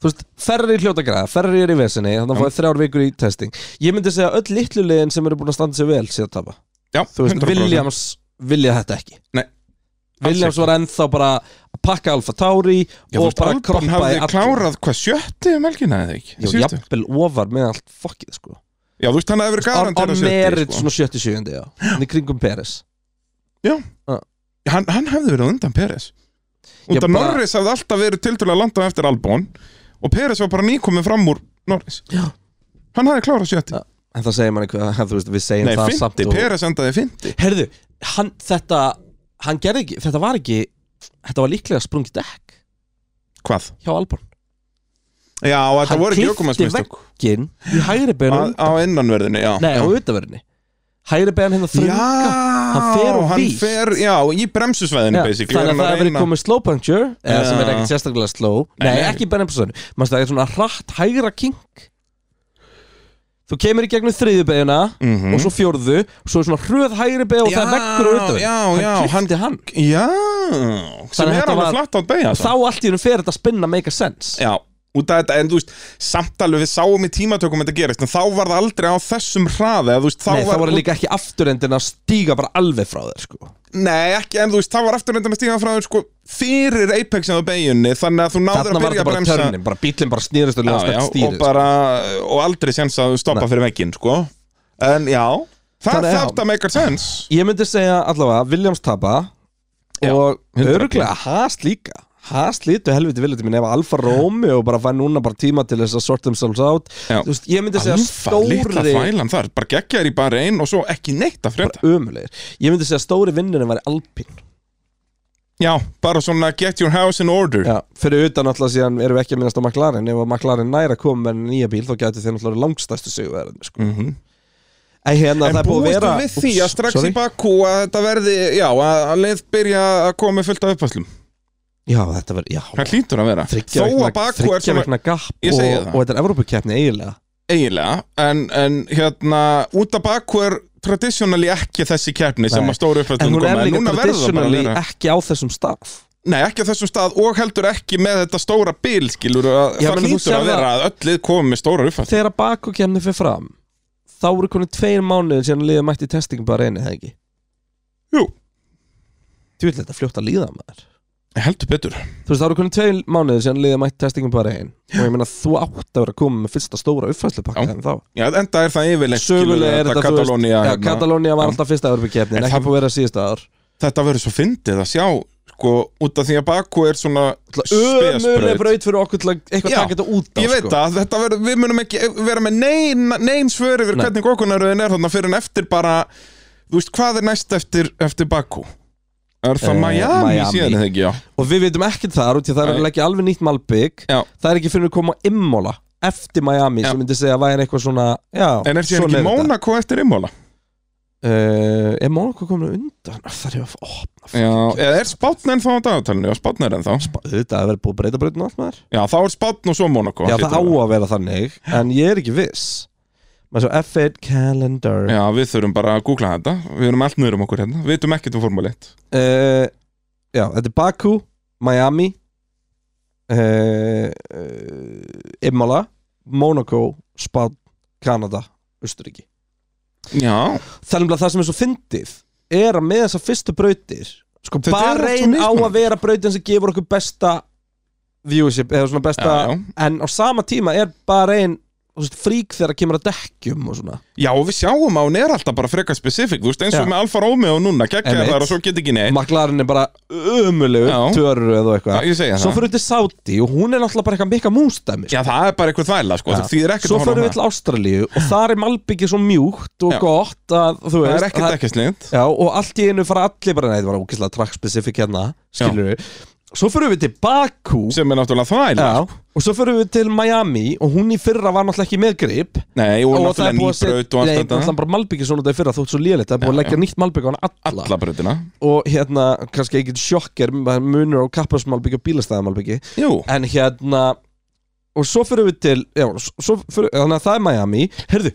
B: Þú veist, ferri í hljóta græða, ferri er í vesinni þannig að fáið þrjár vikur í testing Ég myndi segja að öll litlu liðin sem eru búin að standa sér vel sé að tapa
C: Já,
B: Þú veist,
C: 100%.
B: Williams vilja þetta ekki
C: Nei,
B: Williams var ennþá bara að pakka Alfa Tauri
C: Já, þú
B: og
C: veist,
B: bara
C: Alban
B: kroppa í
C: hafði
B: allt
C: klárað hvað sjötti um helgina eða ekki
B: Jú,
C: Síðustu?
B: jafnvel ofar með allt fokkið sko
C: Já, þú veist, hann hefði verið
B: Á- á
C: garantera
B: merit
C: sjötti sko.
B: svona 77 já, í kringum Peres
C: hann, hann hefði verið á undan Peres
B: Ég
C: Undan
B: bara-
C: Norris hefði alltaf verið tildulega langt á eftir Albon og Peres var bara nýkominn fram úr Norris
B: Já.
C: Hann hefði klárað sjötti
B: en það segir manni hvað, þú veist, við segjum
C: Nei,
B: það samt
C: finti,
B: og...
C: Peres endaði finti
B: Herðu, hann, þetta hann gerði ekki, þetta var ekki þetta var líklega sprungið dekk
C: Hvað?
B: hjá Albon
C: Já, og þetta
B: Hann
C: voru ekki
B: klippti
C: ökumannsmistök
B: Ginn í hægri beinu
C: Á á innanverðinu, já
B: nei, á
C: já.
B: utanverðinni hægri beinu hérna
C: Já,
B: þrönga hann fer á
C: hann
B: vír.
C: fer, já, í bremsusvæðinu
B: Já,
C: basically
B: þannig að
C: hann
B: það hefur verið
C: reyna-
B: komið slow puncture eða sem er
C: Já.
B: ekkert sérstaklega slow
C: Nei,
B: nei,
C: nei.
B: ekki bennið på sönnu mannst það er svona hratt hægra kink þú kemur í gegnum þriðju beiguna og svo fjórðu og svo er svona hröð hægri beig og það er
C: Mhm. Já,
B: vekkur og utanverð
C: já, já, hann-
B: hann klippti hann
C: Já, sem
B: Þannig að
C: er
B: þetta
C: alveg
B: var-
C: flatt átt beigja
B: þá allt í hennum fer þetta að spinna make a sense
C: Já, út af þetta, en þú veist samt alveg við sáum í tímatökum þetta gerist en þá var það aldrei á þessum hraði eða, þú veist, þá
B: Nei,
C: var,
B: það voru líka ekki afturendin að stíga bara alveg frá þér sko.
C: Nei, ekki, en þú veist, þá var afturrendin að stíga frá þér sko fyrir apexin á beigjunni þannig að þú náður
B: Þarna
C: að
B: var
C: byrja
B: þetta
C: að
B: bara
C: bremsa
B: törnin, bara bílinn bara snýrist og
C: já,
B: ljóðast
C: já,
B: ekki
C: og
B: stýrist
C: bara, og aldrei séns að stoppa
B: sko. Nei.
C: fyrir vegginn, sko En já, það
B: Þannig að-
C: þarf að make a sense
B: Ég myndi segja allavega Williams tapa
C: Já,
B: og
C: 100%.
B: öruglega Haas líka Haas lítu helviti viljandi minn ef Alfa Romeo bara fær núna bara tíma til þess að sorta themselves out
C: Já.
B: Þú veist, ég myndi segja
C: Alfa, litla
B: stóri
C: þvælan þar, bara geggjaður í bara einn og svo ekki neitt að frétta
B: ömulegir, ég myndi segja stóri vinnunum væri Alpin
C: Já, bara svona get your house in order
B: Já, fyrir utan alltaf síðan erum við ekki að minnast á McLaren ef að McLaren næra kom með nýja bíl þá gæti þeir náttúrulega langstæstu sigurverðin sko.
C: mm -hmm.
B: en hérna
C: En
B: það er búið að
C: búistu
B: vera
C: við því að
B: Úps,
C: strax
B: sorry.
C: í Bakú að þetta verði, já, að að leið byrja að koma með fullt af uppfæslum
B: Já, þetta verður, já
C: Það hlýtur að vera Þó að Bakú er
B: þryggja
C: svona
B: vegna gap
C: Ég
B: og,
C: segi það.
B: og þetta er Evrópukeppni eiginlega
C: eiginlega en, en hérna, út af bakku er traditionally ekki þessi keppni sem
B: Nei.
C: að stóru
B: En
C: uppfæstum
B: hún er
C: koma
B: líka
C: núna verður það bara að
B: traditionally
C: vera
B: ekki á þessum stað
C: Nei, ekki á þessum stað og heldur ekki með þetta stóra bil skilur að
B: Já,
C: það
B: menn þú
C: hlýtur
B: sérð
C: að vera
B: það-
C: að öll lið komið með stóra uppfæstum
B: Þegar bakokjarni fyrir fram Þá eru konið tveir mánuðir síðan liðið mætti í testing bara einu, hefði ekki?
C: Jú,
B: Þú vil þetta fljótt að líða maður
C: heldur betur
B: Þú veist, þá eru konið tveir mánuðir síðan liðið mætti í testing bara einu Og ég meina, þú átt að vera að koma með fyrsta stóra uppfæslupakka
C: Já.
B: en þá
C: Já, enda er það yfirleitt skilur
B: Sögulega er
C: þetta
B: þetta, þú veist
C: Katalónia
B: Já,
C: hérna.
B: Katalónia var
C: Já.
B: alltaf fyrsta örbyggjefni
C: En
B: En
C: það-
B: ekki búið að vera síðasta ár
C: Þetta verður svo fyndið að sjá sko, út af því að Baku er svona
B: Ömuleg
C: spesbraut.
B: braut fyrir okkur til að eitthvað
C: Já.
B: taka þetta út á
C: Ég veit
B: sko.
C: það, þetta verður, við munum ekki vera með nein, nein svör yfir
B: Nei.
C: hvernig okkunaröðin er þarna fyrir en eftir bara þú veist, hvað er næst eftir, eftir Baku? Er það
B: Eh,
C: Miami,
B: Miami.
C: síðan eða ekki, já
B: Og við veitum ekkert þar út í að það er
C: Nei.
B: alveg ekki alveg nýtt malbygg
C: Já.
B: Það er ekki fyrir að koma á Immola Eftir Miami
C: Já.
B: sem myndi segja að væri eitthvað svona Já,
C: En er síðan
B: svona þetta.
C: ekki Monaco eftir Imola?
B: uh, Er Monaco komin undan? Ah, Það er að opna
C: Já, eða er Spátn ennþá á dagatalinu? Já, Spátn er ennþá
B: Þetta er verið búið að breyta breytin og allt maður
C: Já, þá er Spátn og svo Monaco
B: Já,
C: hlýtur
B: það á
C: að vera.
B: að vera þannig En ég er ekki viss Maður svo F1 calendar
C: Já, við þurfum bara að googla þetta Við erum allt nöður um okkur hérna, við veitum ekkert um Formule 1
B: uh, Já, þetta er Baku Miami uh, uh, Immola Monaco, Spán, Kanada Austuríki
C: Já,
B: Það er nefnilega það sem er svo fyndið er að með þessar fyrstu brautir sko
C: Þetta er
B: bara
C: allt svo
B: einn á
C: mismunandi.
B: að vera brautin sem gefur okkur besta viewership eða svona besta
C: Já, já.
B: en á sama tíma er bara einn frík þegar kemur að dekkjum og svona
C: Já, og við sjáum að hún er alltaf bara frekar spesifik, þú veist, eins og
B: Já.
C: með Alfa Romeo núna, geggja
B: Einmitt.
C: þar og svo get ekki neitt
B: maklarinn er bara ömulegu
C: Já.
B: törru eða
C: Já,
B: eitthvað
C: ég segja
B: svo
C: það
B: fyrir við til Saudi og hún er náttúrulega bara eitthvað mikka mústæmi
C: Já, það er bara eitthvað þvæla,
B: Já.
C: sko, það þýðir ekkert
B: svo
C: að
B: fyrir
C: horfa á
B: við
C: það
B: til Ástralíu og þar er malbyggið svo mjúkt og
C: Já.
B: gott að þú
C: Það
B: veist
C: er ekkert ekki snind
B: Já, og allt í einu fara allir bara, nei, það var ógeðslega track-specific hérna, skilur við. Svo fyrir við til Baku,
C: Sem er sko. náttúrulega þvæla
B: já, og svo fyrir við til Miami, og hún í fyrra var náttúrulega ekki með grip.
C: Nei, og, náttúrulega nýbraut og
B: nei,
C: allt
B: náttúrulega
C: þetta
B: bara malbyggja svona þetta í fyrra, þótt svo lélegt, það er búið að
C: Já,
B: leggja nýtt malbyggja á hann alla.
C: Alla brautina
B: Og hérna, kannski ekki sjokker, maður munur á kappasmalbyggja og bílastæðamalbyggja,
C: Jú,
B: en hérna, og svo fyrir við til, já, svo fyrir, þannig að það er Miami, herðu,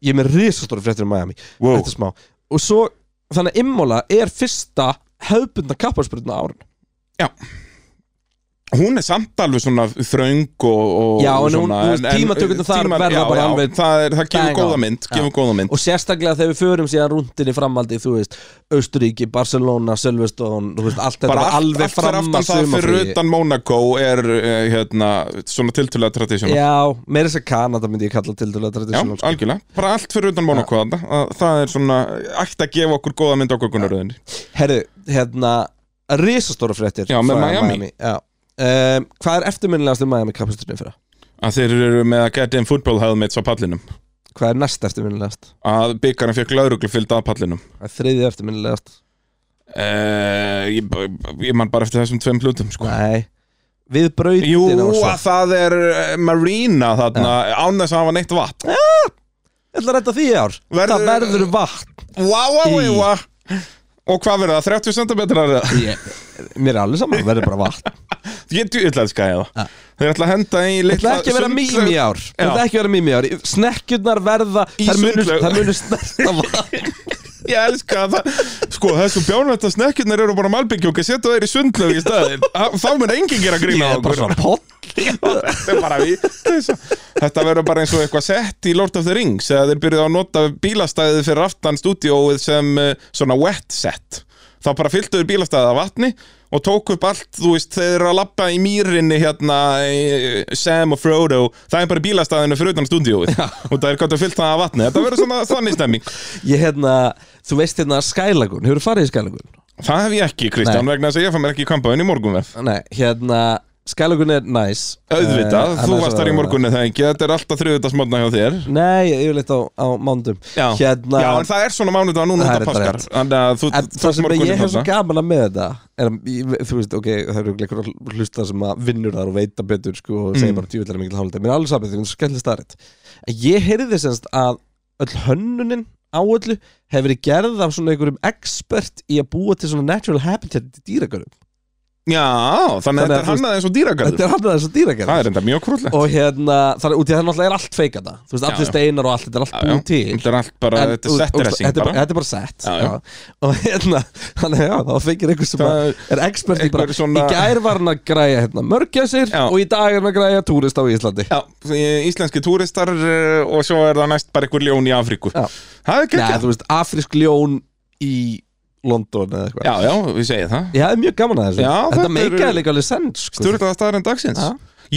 B: ég er með risastóru fréttir um Miami
C: wow
B: eftir smá og svo, þannig að Immola er fyrsta höfbundna kapparsprutna árun
C: Hún er samt alveg svona þröng og, og
B: Já, en
C: og
B: hún-
C: svona, eh,
B: þú veist, tímatökurnar þar verða
C: já,
B: bara
C: já,
B: alveg
C: Það, er, það
B: bang
C: gefur góða
B: on.
C: mynd,
B: Já.
C: gefur góða mynd
B: og sérstaklega þegar við förum síðan rúndin í framaldi, þú veist, Austuríki Barcelona, Silveston, þú veist, allt þetta
C: Bara
B: var
C: allt,
B: alveg
C: allt fyrir
B: fram
C: aftan
B: að
C: það fyrir
B: sumarfríi.
C: utan Monaco er, eh, hérna, svona tiltölulega tradisjónal
B: Já, meira þess að Kanada myndi ég kalla til dæla
C: Já,
B: traditional sko.
C: algjörlega, bara allt fyrir utan Monaco ja. það, það er svona, ætti að gefa okkur góða mynd okkur gunnaröðinni
B: Herru, hérna, risastóra fréttir
C: Já, með
B: frá
C: Miami.
B: Já. Um, hvað er eftirminnilegast um Miami kapparsprutni fyrir?
C: að þeir eru með að geta einn fútból helmets á pallinum
B: Hvað er næst eftirminnilegast?
C: að byggarinn fekk lauruglu fyllt að pallinum
B: Hvað er Þriðið eftirminnilegast?
C: uh, ég, ég man bara eftir þessum tveim hlutum sko.
B: Nei, við brautin
C: Jú,
B: á svo
C: að það er eh, Marina þarna, án þess að hafa neitt vatn
B: Ég ætla að redda því í ár
C: Verður-
B: Það verður vatn
C: Vá, vá,
B: Í.
C: vá, vá Og hvað verður það, 30 cm eða?
B: ég, Mér er allir saman, það verður bara vatn
C: Ég ætla að skæja
B: Ja.
C: það Þeir ætla að henda í
B: Ég ætla ekki að vera mím í ár Ég ætla ekki að vera mím í ár Snekkjurnar verða
C: Í
B: Þær munu,
C: sundlaug.
B: þær munu snerta vatn
C: Ég elska það Sko, þessu bjánvætta snekkjurnar eru bara malbyggjók að setja þeir í sundlög í staðin Þá mun enginn gera
B: Ég
C: grína
B: er bara svona poll
C: Þetta er bara við Þetta verður bara eins og eitthvað sett í Lord of the Rings eða þeir byrjuðu að nota bílastæðið fyrir aftan stúdíóið sem eh, svona wet set Þá bara fylltuður bílastæðið af vatni og tók upp allt, þú veist, þeir eru að lappa í mýrinni hérna eh, Sam og Frodo, það er bara í bílastæðinu fyrir utan stúdíóið og það er gott að fyllt það af vatni Þetta verður svona þannig stemming
B: Ég hérna, þú veist hérna Skylagun Hefur farið í Skylagun?
C: Það hef ég ekki, Kristján,
B: Nei.
C: vegna þess að ég fann mér ekki í kampaðin í morgunverð
B: Nei, hérna Skylagun er næs
C: Auðvitað,
B: Eh,
C: þú
B: annars
C: varst þar í
B: verður-
C: morgunni það ekki, þetta er alltaf þriðutagsmótna hjá þér
B: Nei, ég er leitt á, á mándum
C: Já.
B: Hérna
C: Já, en það er svona mánudag núna
B: Það er
C: út af
B: þetta
C: páskar
B: rétt.
C: Þannig að þú
B: En
C: þú
B: það sem
C: morguninn
B: ég hef svo
C: þarna.
B: gaman að með þetta er að, ég- þú veist, ok, það eru einhverjum hlusta sem að vinnur þar og veita betur sko, og
C: Mm.
B: segja bara djúvillar mikil hálfdeg, mér er alveg saman því hún er skellir starrið en ég heyrði semst að öll hönnunin á öllu hefur verið gerð af svona einhverjum expert í að búa til svona natural habitat í dýragarum
C: Já, þannig að
B: Þannig að
C: þetta er
B: þú veist-
C: hannað eins og dýragarður
B: Þetta er hann að þessu dýragerð
C: Það er enda mjög krúllegt
B: Og hérna, þannig út í það náttúrulega er allt feikata Þú veist,
C: Já,
B: allir
C: já.
B: steinar og allt, þetta er allt búið til
C: Þetta er allt bara,
B: En,
C: þetta
B: þú
C: er
B: veist,
C: setteressing
B: þetta er
C: bara
B: Þetta er bara sett
C: Já,
B: já,
C: já.
B: Og hérna, þannig að já, þá feikir einhver sem
C: Það-
B: að er expert í bara
C: einhver svona-
B: Í gær var hann að græja hérna, mörgæsir
C: Já.
B: Og í dag er hann að græja túrist á Íslandi
C: Já, í- íslenski túristar eh, og svo er það næst bara einhver ljón í Afríku
B: Já.
C: Það er
B: Nei,
C: geggjað
B: þú veist, afrísk ljón í London eða eitthvað
C: Já, já, við segið það
B: Ég hafði mjög gaman að þessu
C: Já,
B: Þetta
C: þetta eru-
B: meikaði líka alveg sens sko.
C: Sturlaða staðarinn dagsins
B: Já.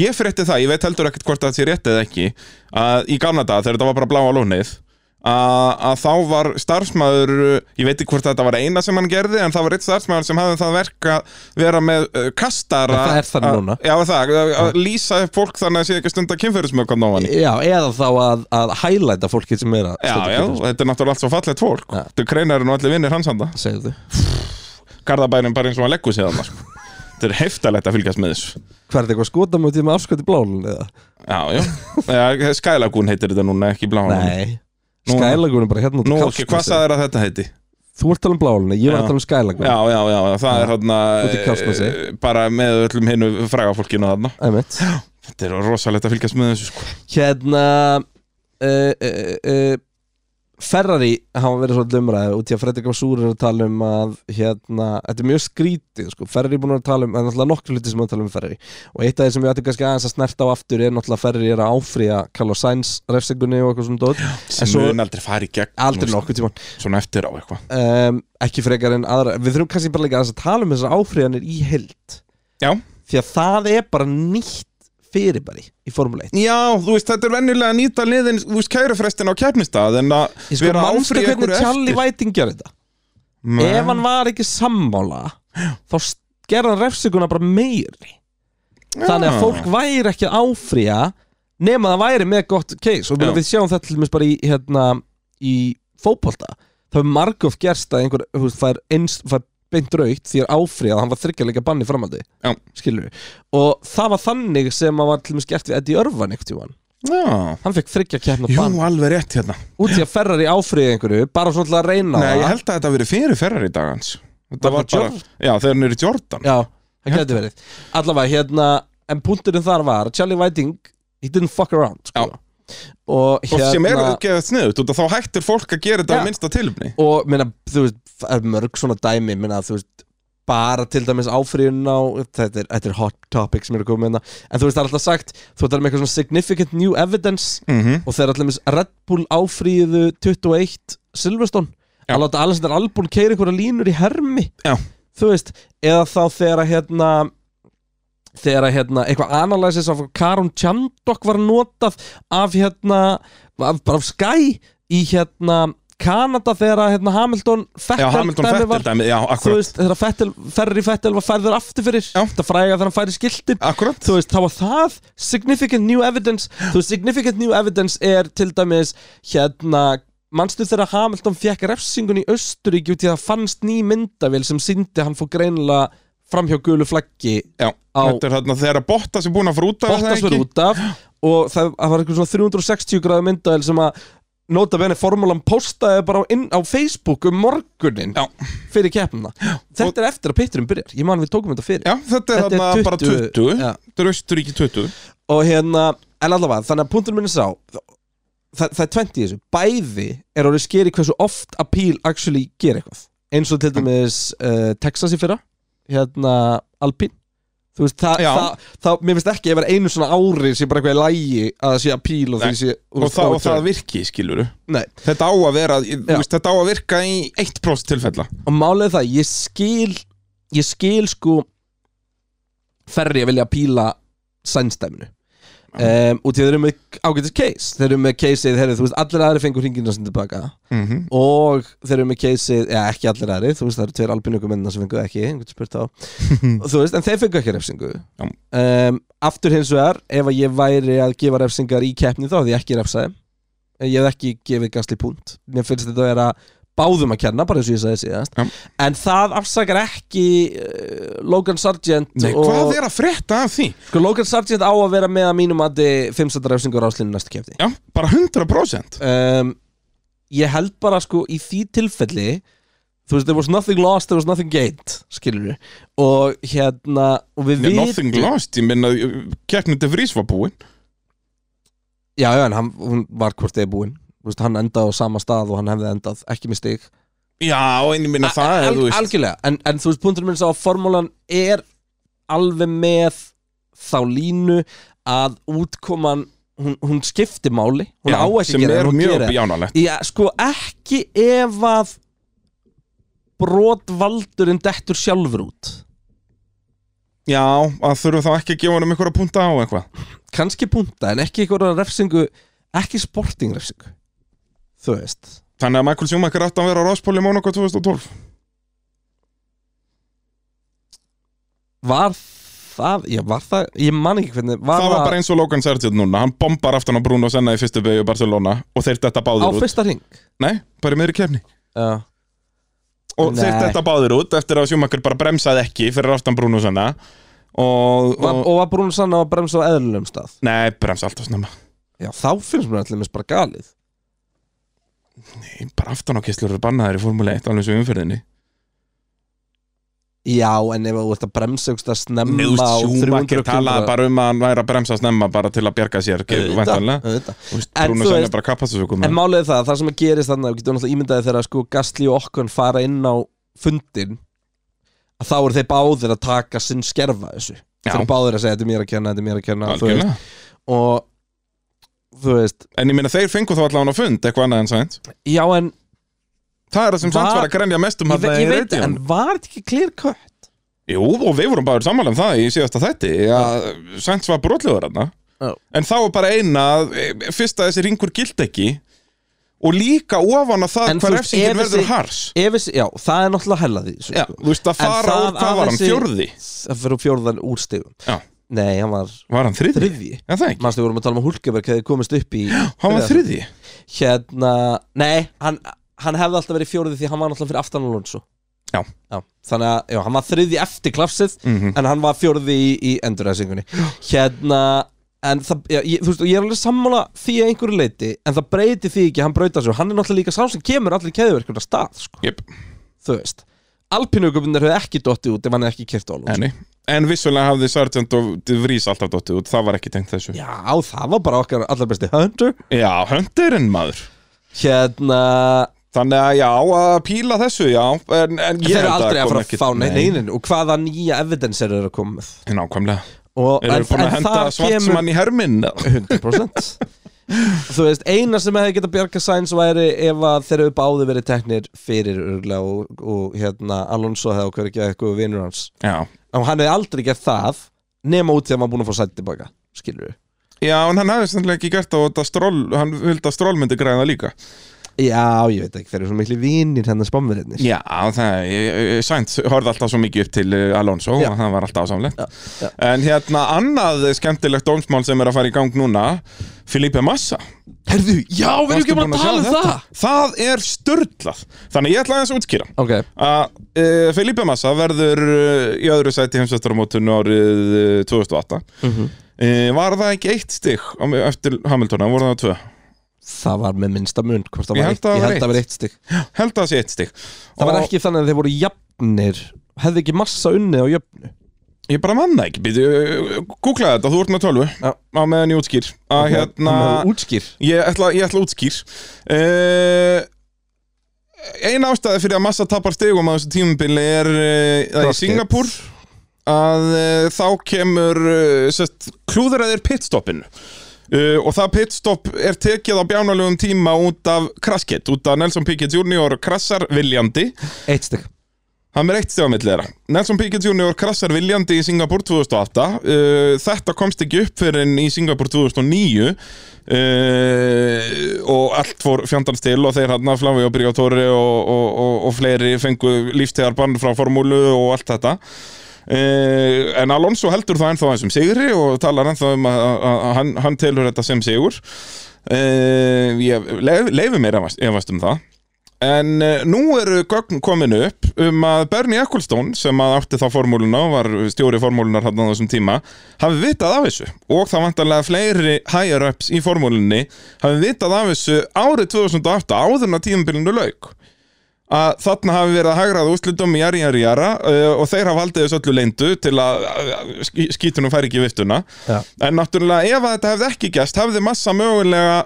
C: Ég frétti það, ég veit heldur ekkert hvort það sé rétt eða ekki að í gamla dag þegar þetta var bara bláa lónið að, að þá var starfsmæður uh, ég veit ekki hvort þetta var eina sem hann gerði en það var eitt starfsmæður sem hafði það verk að vera með uh, kastara
B: En það er þannig
C: að-
B: núna.
C: Já, það, að, að lýsa upp fólk þannig að sé ekki stunda kynferðismökan á hann
B: Já, eða þá að, að hælæta fólki sem er að
C: Já,
B: stunda
C: já,
B: kynferðis-
C: þetta er náttúrulega allt svo fallegt fólk
B: Já.
C: Þetta er kreinarinn og allir vinnir hans handa
B: segðu
C: Garðabærin bara eins og hann leggur sig þarna sko. Þetta er heftalegt að fylgjast með þessu
B: Hvað er þetta eitthvað skotamótið með afskvætti blálun eða?
C: Já, já, já Skælagún heitir þetta núna, ekki bláan
B: Nei
C: Nú-
B: Skælagun er bara hérna út
C: Nú,
B: í
C: ok, hvað
B: Kársnesi.
C: sagðir að þetta heiti?
B: Þú ert að tala um blálunni, ég var
C: Já.
B: að tala um skælagun
C: Já, já, já, já, það er þarna
B: Út í Kársnesi.
C: eh, Bara með öllum hinnu frægafólkinu þarna
B: Æmitt
C: Þetta er rosalegt að fylgjast með þessu sko
B: Hérna uh, uh, uh, Ferrari hafa verið svolítið umræði út í að Fredrik Vassúr er að tala um að hérna, þetta er mjög skrítið sko. Ferrari er búin að tala um, það er náttúrulega nokkru hluti sem að tala um Ferrari og eitt af því sem við ættum kannski aðeins að snerta á aftur er náttúrulega Ferrari er að áfrýja Carlos Sainz refsingunni og eitthvað svona dót
C: Sem
B: svo-
C: mun aldrei fara í gegn
B: aldrei
C: nú, sko.
B: nokkuð tíma
C: Svona eftir á eitthvað
B: um, ekki frekar en aðra við þurfum kannski bara líka aðeins að tala um þessar áfríðanir í held
C: Já.
B: því að það er bara nýtt fyrirbæri í Formule 1
C: Já, þú veist, þetta er venjulega að nýta liðin Þú veist, kærufrestin á kærnistað En að
B: ég sko
C: vera
B: mannstu
C: áfrýja
B: hvernig
C: einhverju
B: Charlie
C: eftir.
B: Whiting gjör þetta
C: Nei.
B: ef hann var ekki sammála þá s- gerði hann refsinguna bara meiri þannig
C: Já.
B: að fólk væri ekki að áfríja nema það væri með gott case og ég meina,
C: Já.
B: við sjáum þetta til mér bara í, hérna, í fótbolta það er margóf gerst að einhver þú veist, fær, eins, fær beint raukt því er áfríjað hann var þryggjarleika banni framaldi
C: Já.
B: skilur við, og það var þannig sem að var til mér gert við Eddie Örvan einhvern tímann
C: Já
B: hann fekk þryggja kérna
C: Jú,
B: bann
C: alveg rétt hérna
B: út í að ferrar í áfríjað einhverju bara svona til að reyna
C: Nei, ég
B: það.
C: held að þetta hafi verið fyrir ferrar í dagans Þetta
B: Var
C: var
B: það
C: bara Já, þegar hann er í Jordan
B: Já, það getur verið Allavega, hérna, en punkturinn þar var Charlie Whiting, he didn't fuck around sko. Og
C: Og
B: hérna
C: sem er geðað sniðut og þá hættir fólk að gera þetta
B: Já.
C: að minnsta tilfni
B: Og, meina, þú veist, það er mörg svona dæmi Meina, þú veist, bara til dæmis áfriðun á þetta er, þetta er hot topic sem eru komið hérna En þú veist, það er alltaf sagt Þú veist, það er með um eitthvað svona significant new evidence
C: mm
B: Og þeir allir með Red Bull áfríðu 21 Silverstone
C: Já.
B: Að láta Alexander Albon keira einhverja línur í hermi
C: Já.
B: Þú veist, eða þá þegar að hérna Þegar að hérna eitthvað analysis af Karun Tjandok var notað af hérna af, bara af Sky í hérna Kanada þegar að hérna Hamilton Fettel
C: Já, Hamilton
B: dæmi
C: Fettel dæmi, já,
B: Þú
C: akkurat
B: veist, þegar að Fettel, Ferri Fettel var færður aftur fyrir
C: Já.
B: Þetta fræga þegar hann færi skiltin
C: Akkurat,
B: þú veist, þá var það significant new evidence þú veist, significant new evidence er til dæmis hérna manstu þegar Hamilton fekk refsingun í Östuríki út í að það fannst ný myndavél sem síndi hann fór greinilega framhjá gulu flaggi
C: já,
B: á-
C: þetta er þarna þegar að Bottas er búin að fara út af er það
B: Bottas
C: ekki?
B: verið út af og það, það var einhver svona 360 gráðu myndavél sem að nota benni formúlan postaði bara á, inn, á Facebook um morgunin
C: Já.
B: fyrir keppnina þetta er eftir að pitturum byrjar, ég man við tókum þetta fyrir
C: Já, þetta er
B: Þetta er
C: þarna bara
B: 20,
C: 20
B: já.
C: Þetta er Austuríki 20
B: og hérna, en allavega, þannig að punktur minni sá það, það er 20 í þessu bæði er orðið skeri hversu oft appeal actually gera eitthvað eins og
C: Mm.
B: til dæmis uh, Texas í fyrra hérna Alpine þú veist, það,
C: Já.
B: það, það mér finnst ekki ef er einu svona ári sé bara eitthvað í lægi að það sé appeal og
C: Nei.
B: því sé
C: og, það, og það virki, skiluru
B: Nei.
C: Þetta á að vera, í- þú
B: Já.
C: veist, þetta á að virka í 1% tilfella
B: og málið er það, ég skil ég skil sko ferri að vilja píla sænstæminu um, og þeir eru með ágætis case þeir eru með caseið, herri, þú veist, allir aðri fengur hringina sem tilbaka
C: mm
B: Mhm. og þeir eru með caseið, eða ekki allir aðri þú veist, það eru tveir albinökumennina sem fengu ekki einhvern spurt á, Og þú veist, en þeir fengu ekki refsingu
C: Já.
B: um, aftur hins vegar, ef að ég væri að gefa refsingar í keppni þá hefði ég ekki refsaði ég hefði ekki gefið gasli púnt mér finnst þetta að vera báðum að kenna bara eins og ég sagði síðast
C: Já.
B: en það afsakar ekki uh, Logan Sargent
C: Nei,
B: og,
C: hvað er að frétta af því?
B: sko, Logan Sargent á að vera með að mínum að 500 refsingar áslinu næstu keppni
C: Já, bara 100%
B: um, ég held bara sko í því tilfelli þú veist, there was nothing lost, there was nothing gained skilur við og hérna, og við
C: Nei, Nothing lost, ég minna Keppnum til frís var búinn
B: já, já, en hann, hún var hvort eða búinn Þú veist, hann endaði á sama stað og hann hefði endað ekki með stig
C: Já, en ég minna það er,
B: Al-
C: þú veist
B: algjörlega, en, en þú veist, punkturinn minn sá að formúlan er alveg með þá línu að útkoman hún, hún skipti máli, hún
C: já,
B: á ekki að
C: Sem
B: gera en
C: er
B: hún
C: mjög
B: gerir það.
C: bjánalegt
B: Já, sko ekki ef að brotvaldurinn dettur sjálfur út
C: Já, að þurfum þá ekki að gefa honum einhverja punta á eitthvað
B: kannski punta, en ekki einhverja refsingu ekki sporting refsingu þú veist
C: Þannig að Michael Schumacher átti að vera á ráspóli í Monaco 2012
B: var það, já var það ég man ekki hvernig, var
C: Það var bara eins og Logan Sargent núna Hann bombar aftan á Bruno Senna í fyrstu beigju Barcelona Og þeir þetta
B: á
C: báðir út
B: fyrsta ring
C: Nei, bara í meðri kefni
B: já,
C: Og
B: Nei.
C: þeir þetta báðir út eftir að Schumacher bara bremsaði ekki Fyrir aftan Bruno Senna Og,
B: var,
C: og
B: og var Bruno Sanna að bremsa á eðlulegum stað
C: Nei, bremsa alltaf snemma
B: já, þá finnst mér allir mest bara galið
C: Nei, bara aftan á kistlur eru bannaðir í Formule 1 Alveg svo umferðinni
B: já, en ef þú ert að bremsa einhvers staðar snemma
C: Nei, þú
B: á
C: veist,
B: 300
C: Schumacher talaði bara um að hann væri að bremsa snemma bara til að bjarga sér, væntanlega
B: auðvitað
C: Þú veist,
B: En
C: Bruno
B: þú
C: Senna
B: veist-
C: er bara kapastasökum
B: En málið er það, það sem að gerist þannig að við getum náttúrulega ímyndaði þegar að sko Gastli og Okkon fara inn á fundin að þá eru þeir báðir að taka sinn skerfa þessu
C: Já.
B: þeir eru báðir að segja þetta er mér að kenna, þetta er mér að kenna þú veist,
C: Algjörlega.
B: og þú veist,
C: En ég meina þeir fengu þá allavega á fund eitthvað annað en sænt
B: já en
C: Það er það sem sænt
B: Var-
C: var að grenja mest um
B: ég,
C: hann
B: ve
C: í
B: ég veit,
C: reyndjum
B: en var þetta ekki clear cut?
C: Jú, og við vorum bara sammála um það í síðasta þætti að sænt var brotlegur hann
B: Já.
C: En þá er bara eina að, e, fyrst að þessi ringur gild ekki og líka ofan að það
B: En þú
C: hvað
B: veist, ef
C: refsingin verður
B: þessi-
C: hars
B: Ef þessi, já, það er náttúrulega hella því
C: Já,
B: sko.
C: þú veist
B: En
C: að fara
B: það
C: úr, hvað
B: að
C: var hann,
B: þessi-
C: fjórði?
B: það fyrir fjórðan úr stigum
C: Já.
B: Nei, hann var
C: Var hann þriði?
B: þriðji
C: Já, það ekki,
B: Manstu, við vorum að tala um að Hulkeberg hefði komist upp í
C: hann var þriði
B: hérna, nei, hann, hann hefði alltaf verið fjórði því hann var náttúrulega fyrir aftan Alonso
C: Já.
B: þannig að já, hann var þriði eftir klapsið
C: Mhm.
B: en hann var fjórði í, í endurræsingunni hérna, en það, já, ég, þú veist, og ég er alveg sammála því að einhverju leiti en það breyti því ekki, að hann breyta svo hann er náttúrulega líka sá sem kemur allir keðuverkur að stað, sko,
C: Jep,
B: þú veist Alpinugubunir hefði ekki dottið út ef hann hefði ekki kert á Alonso
C: enni En vissulega hafði Sargent og De Vries alltaf dottið út, það var ekki tengt þessu
B: Já, það var bara okkar allar besti hundur
C: Já, höndirinn maður
B: Hérna,
C: Þannig að já, að píla þessu, já En, en
B: þeir
C: ég
B: eru aldrei að fara að fá
C: nei, nei.
B: neinin og hvaða nýja evidens eru þeir að koma með
C: Nákvæmlega
B: og,
C: Eru við búin að henda
B: þar
C: svartsmann í herminn?
B: 100% Þú veist, eina sem hefði getað bjarga sæns væri ef að þeir eru báði verið teknir fyrir örgulega og, og hérna Alonso hefði okkur ekki eitthvað vinnur hans
C: Já
B: og hann hefði aldrei gert það nema út því að maður búin að fá sætt tilbaka skilur við
C: Já, en hann hefði sannlega ekki gert það og þetta stról, hann vildi að stról myndi græða líka
B: Já, ég veit ekki, þeir eru svo hérna, miklu vinnir hennar spamverðinir
C: Já, það, ég, ég, Sainz horfði alltaf svo mikið upp til eh, Alonso
B: Já.
C: og það var alltaf ásamlegt
B: Já, já.
C: En hérna, annað skemmtilegt dómsmál sem er að fara í gang núna Filipe Massa
B: Herðu, já, við erum
C: Varstu
B: ekki bara
C: búin
B: að tala um
C: sjá
B: það
C: þetta? Það er störtlað Þannig ég ætla aðeins að útskýra
B: Ok,
C: að uh, Felipe Massa verður uh, í öðru sæti heimsvæstaramótun árið uh, 2008 mm
B: Mhm.
C: var það ekki eitt stig á, eftir Hamiltona, voru það tvö
B: það var með minnsta mun hvort það
C: Ég
B: var
C: held
B: eitt-
C: að
B: Ég
C: það var
B: held að það var eitt stig
C: held að það sé eitt stig
B: Það var
C: Og
B: ekki þannig að þeir voru jafnir Hefði ekki massa unnið á jöfnu
C: ég bara manna ekki, býtu, uh, googlaði þetta, þú ert með 12
B: Já.
C: á meðan ég útskýr að hérna,
B: Útskýr
C: ég ætla, ég ætla að útskýr uh, ein ástæði fyrir að Massa tapar stigum á þessu tímubili er uh, að í
B: Crossfit.
C: Singapur að uh, þá kemur uh, sest, klúðraðir pitstoppinu Uh, og það pitstopp er tekið á bjánalögum tíma út af kraskett, út af Nelson Piquet Jr. krassar viljandi
B: Eitt stig
C: Hann er eitt stegamillir þeirra. Nelson Piquet Jr. krassar viljandi í Singapur 2008. Uh, þetta komst ekki upp fyrir en í Singapur 2009 uh, Eh, og allt fór fjandans til og þeir hann að Flavi og Brigatóri og, og, og, og fleiri fengu lífstegar bann frá formúlu og allt þetta. Uh, en Alonso heldur það ennþá eins um sigri og talar ennþá um að, að, að hann, hann telur þetta sem sigur. Uh, ég leif, leifi mér að efast um það. En uh, nú eru gögn komin upp um að Bernie Ecclestone sem að átti þá formúluna og var stjóri formúlunar hann á þessum tíma hafi vitað af þessu og það vantarlega fleiri higher-ups í formúlunni hafi vitað af þessu árið 2008 áður en að tíðanbylundu lauk að þarna hafi verið að hagrað úrslutum jari, jari, jara uh, og þeir hafa haldið þessu öllu leyndu til að uh, skí- skítunum fær ekki í viftuna
B: Já.
C: en náttúrulega ef að þetta hefði ekki gæst hafði massa mögulega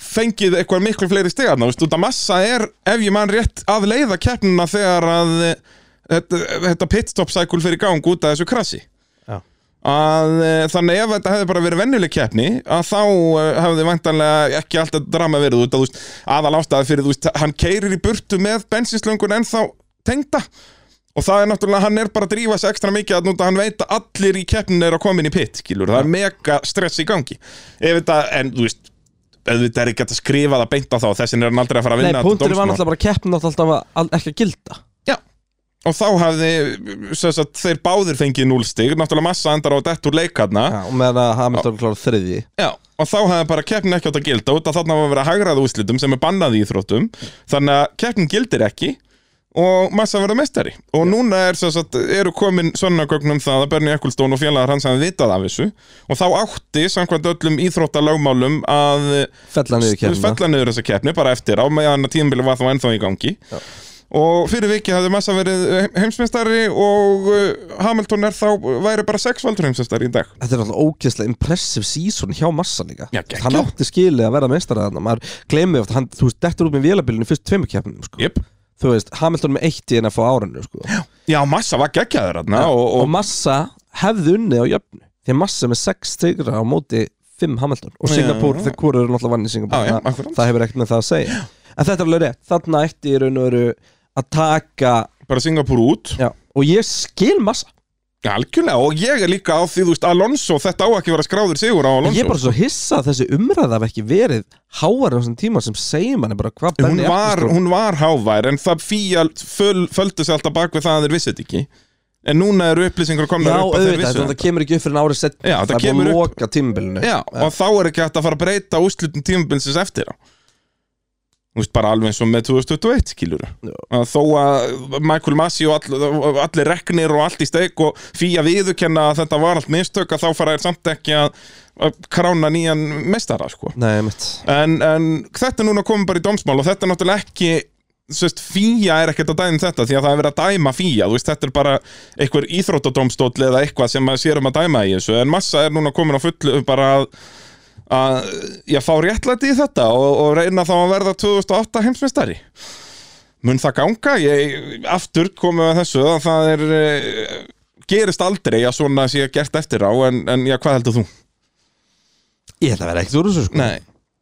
C: fengið eitthvað miklu fleiri stegarna veist, út að massa er, ef ég man rétt að leiða keppnuna þegar að eh, þetta, þetta pitstop cycle fyrir gang út af þessu krassi
B: Já.
C: að e, þannig ef þetta hefði bara verið venjuleg keppni að þá e, hefði vantanlega ekki alltaf drama verið út að þú veist aðal ástæða fyrir þú veist hann keirir í burtu með bensinslöngun en þá tengda og það er náttúrulega hann er bara að drífa sig ekstra mikið að núta hann veit að allir í keppninu eru að koma inn í pitt skilur það er mega stress í gangi ef þetta en þú veist auðvitað er ekki hægt að skrifa það beint á þá þessin er hann aldrei að fara að
B: Nei,
C: vinna þetta
B: punkturinn var
C: dómsmál.
B: náttúrulega bara að keppin átti alltaf að, að ekki að gilda
C: Já Og þá hafði, sem sagt, þeir báðir fengið núlstig Náttúrulega massa endar á dett úr leikarna
B: Já, og meðan að Hamilton klára þriðji
C: Já Og þá hafði bara keppnin ekki átt að gilda út að þarna var að vera hagraða úrslitum sem er bannað í íþróttum Þannig að keppnin gildir ekki og massa verða mestari og núna er, sem sagt, eru komin sönnagögnum það að Bernie Ecclestone og félagar hans hafi vitað af þessu og þá átti samkvæmt öllum íþróttalögmálum að
B: fella niður keppina
C: fella niður þessa keppni bara eftir á meðan að tíðanbili var þá ennþá í gangi og fyrir viki hafði massa verið eh, heimsmeistari og uh, Hamilton er þá væri bara sexvaldur heimsmeistari í dag
B: Þetta er náttúrulega ógeðslega impressive season hjá massa líka
C: Já, geggjað.
B: Hann átti skilið að vera meistara þarna Maður gleymið oft, hann, þú veist, dettur út með vélabilinu fyrst tveimur keppnum sko.
C: yep.
B: Þú veist, Hamilton með eitt í en að fá árinu sko.
C: Já, massa var geggjaður þarna og,
B: og
C: og,
B: massa hefði unnið á jöfnu því að massa er með 6 tigra á móti 5 Hamilton og
C: Já.
B: Singapur, þegar hvort eru náttúrulega vann í Singapur
C: Já, já,
B: það,
C: akkurat.
B: það hefur ekkert með það að segja en þetta er alveg rétt, þarna ætti í raun og veru að taka
C: bara Singapur út
B: já, og ég skil massa
C: algjörlega og ég er líka á því þú veist Alonso, þetta á ekki að vera skráður sigur á Alonso
B: ég er bara svo hissa að þessi umræða hef ekki verið háar á þessum tíma sem segir manni bara hvað sko.
C: hún
B: Benny
C: var,
B: Ecclestone-
C: hún var hávær en það fíja föl, földu sig alltaf bak við það að þeir vissið ekki en núna eru upplýsingur komna
B: Já,
C: upp að þeir
B: auðvitað,
C: vissu
B: þetta kemur ekki upp fyrir en árið sett
C: Já, þetta
B: það er búið
C: kemur
B: að
C: upp-
B: loka tímabilinu
C: Já, og þá er ekki hægt að fara að breyta úrslutum tímabilsins eftir á Þú veist, bara alveg eins og með 2021, skilur
B: Já.
C: að Þó að Michael Massi og all, allir reknir og allt í steik og fýja viðurkenna að þetta var allt mistök að þá fara þér samt ekki að, að krána nýjan mestara, sko
B: Nei, mitt
C: en, en þetta er núna komið bara í dómsmál og þetta er náttúrulega ekki þú veist, fíja er ekkert að dæma um þetta því að það er verið að dæma fíja, þú veist, þetta er bara einhver íþróttadómstóll eða eitthvað sem maður sér um að dæma í þessu, en massa er núna komin á fullu bara að að ég fá réttlæti í þetta og, og reyna þá að verða 2008 heimsmeistari mun það ganga? Ég aftur komið að þessu að það er eh, gerist aldrei að svona sé gert eftir á en, en já, hvað heldur þú?
B: Ég ætla að vera ekkert úr þessu sko
C: Nei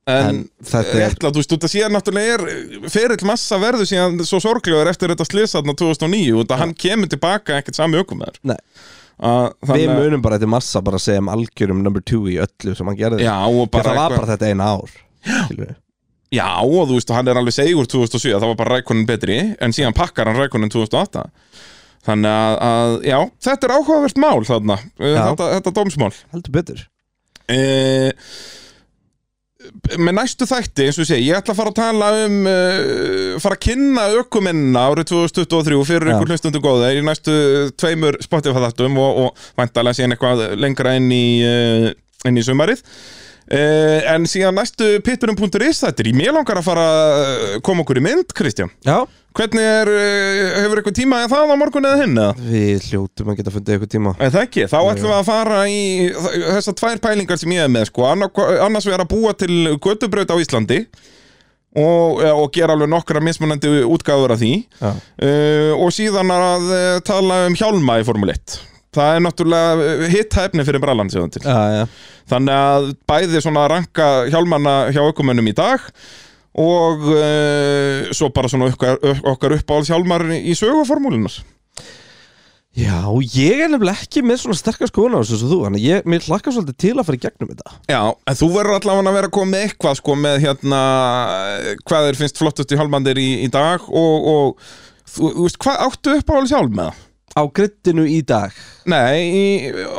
C: En,
B: En þetta er-
C: réttlátt, þú veist, þetta síðan náttúrulega er eh, ferill massa verður síðan svo sorglegur eftir þetta slisaðna 2009 og þetta hann kemur tilbaka ekkert sami ökum með
B: Nei.
C: þér
B: Við munum bara þetta massa bara að segja um algjörum number two í öllu sem hann gerði
C: Já, og
B: Því að Það
C: bara,
B: var
C: eitthvað-
B: bara þetta eina ár skilur við.
C: Já, og þú veist, og hann er alveg segur 2007 það var bara rækonin betri, en síðan pakkar hann rækonin 2008 Þannig að, að, já, þetta er áhugavert mál þarna, Eh,
B: Já.
C: þetta, þetta dómsmál
B: Heldur betur
C: Eh, með næstu þætti eins og ég segi, ég ætla að fara að tala um uh, fara að kynna ökumennina árið 2023 fyrir
B: Já.
C: ykkur hlustundu góða í næstu tveimur Spotify-þáttum og, og væntalega síðan eitthvað lengra inn í, uh, inn í sumarið Uh, en síðan næstu pitburum.is þetta er í mér langar að fara að koma okkur í mynd, Kristján
B: Já
C: hvernig er, uh, hefur eitthvað tíma að það á morgun eða hinn eða?
B: Við hljótum að geta fundið eitthvað tíma
C: Er það ekki? Þá ætlum við að fara í þessar tvær pælingar sem ég hef með sko. Anna- annars við erum að búa til götubraut á Íslandi og, eh, og gera alveg nokkra mismunandi útgáður af því
B: Já.
C: uh, og síðan að uh, tala um hjálma í Formule 1 Það er náttúrulega hitta efni fyrir brallan séðan til
B: Já, já
C: Þannig að bæði svona ranka hjálmana hjá aukumönnum í dag og uh, svo bara svona okkar, okkar uppáhalds hjálmar í söguformúlunar
B: Já, ég er nefnilega ekki með svona sterkar skoðun á þessu sem þú Þannig að ég, mér hlakkar svolítið til að fara í gegnum þetta
C: Já, en þú verður allavega að vera að koma með eitthvað sko með hérna hvað þeir finnst flottust í hálmandir í, í dag og, og þú, þú veist, hvað áttu upp á alveg sjálf með það?
B: Á grittinu í dag
C: Nei, í,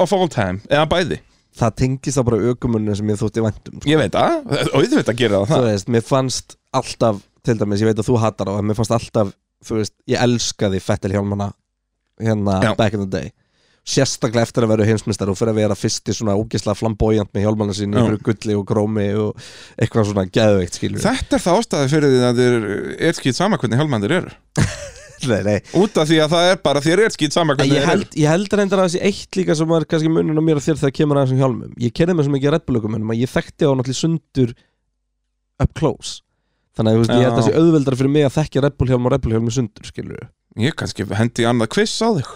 C: of all time, eða bæði
B: Það tengist þá bara aukumunni sem ég þótti um. væntum
C: Ég veit að, auðvitað gera
B: Þú
C: það það
B: veist, mér fannst alltaf Til dæmis, ég veit að þú hatar á en Mér fannst alltaf, þú veist, ég elskaði Fettil Hjálmana Hérna,
C: Já.
B: back in the day sérstaklega eftir að vera heimsmyndstar og fyrir að vera fyrsti svona ógislega flamboyant með hjálmana sín
C: Já.
B: ykkur gulli og grómi og eitthvað svona geðveikt skilur
C: Þetta er það ástæði fyrir því að þér er skýt sama hvernig hjálmandir eru
B: nei, nei.
C: Út af því að það er bara þér er skýt sama
B: En
C: hvernig
B: Ég
C: þér eru
B: held, ég held reyndar að þessi eitt líka sem var kannski munun á mér og þér þegar kemur að þessum hjálmum Ég kerði mig svo mikið að reddbulökumennum að ég þekkti á náttúrulega sundur up close Þannig að þú veist, ég held að
C: Já.
B: þessi auðveldar fyrir mig að þekkja reddbulhjálm og reddbulhjálm í sundur, skilur
C: Ég kannski hendi annað kviss á þig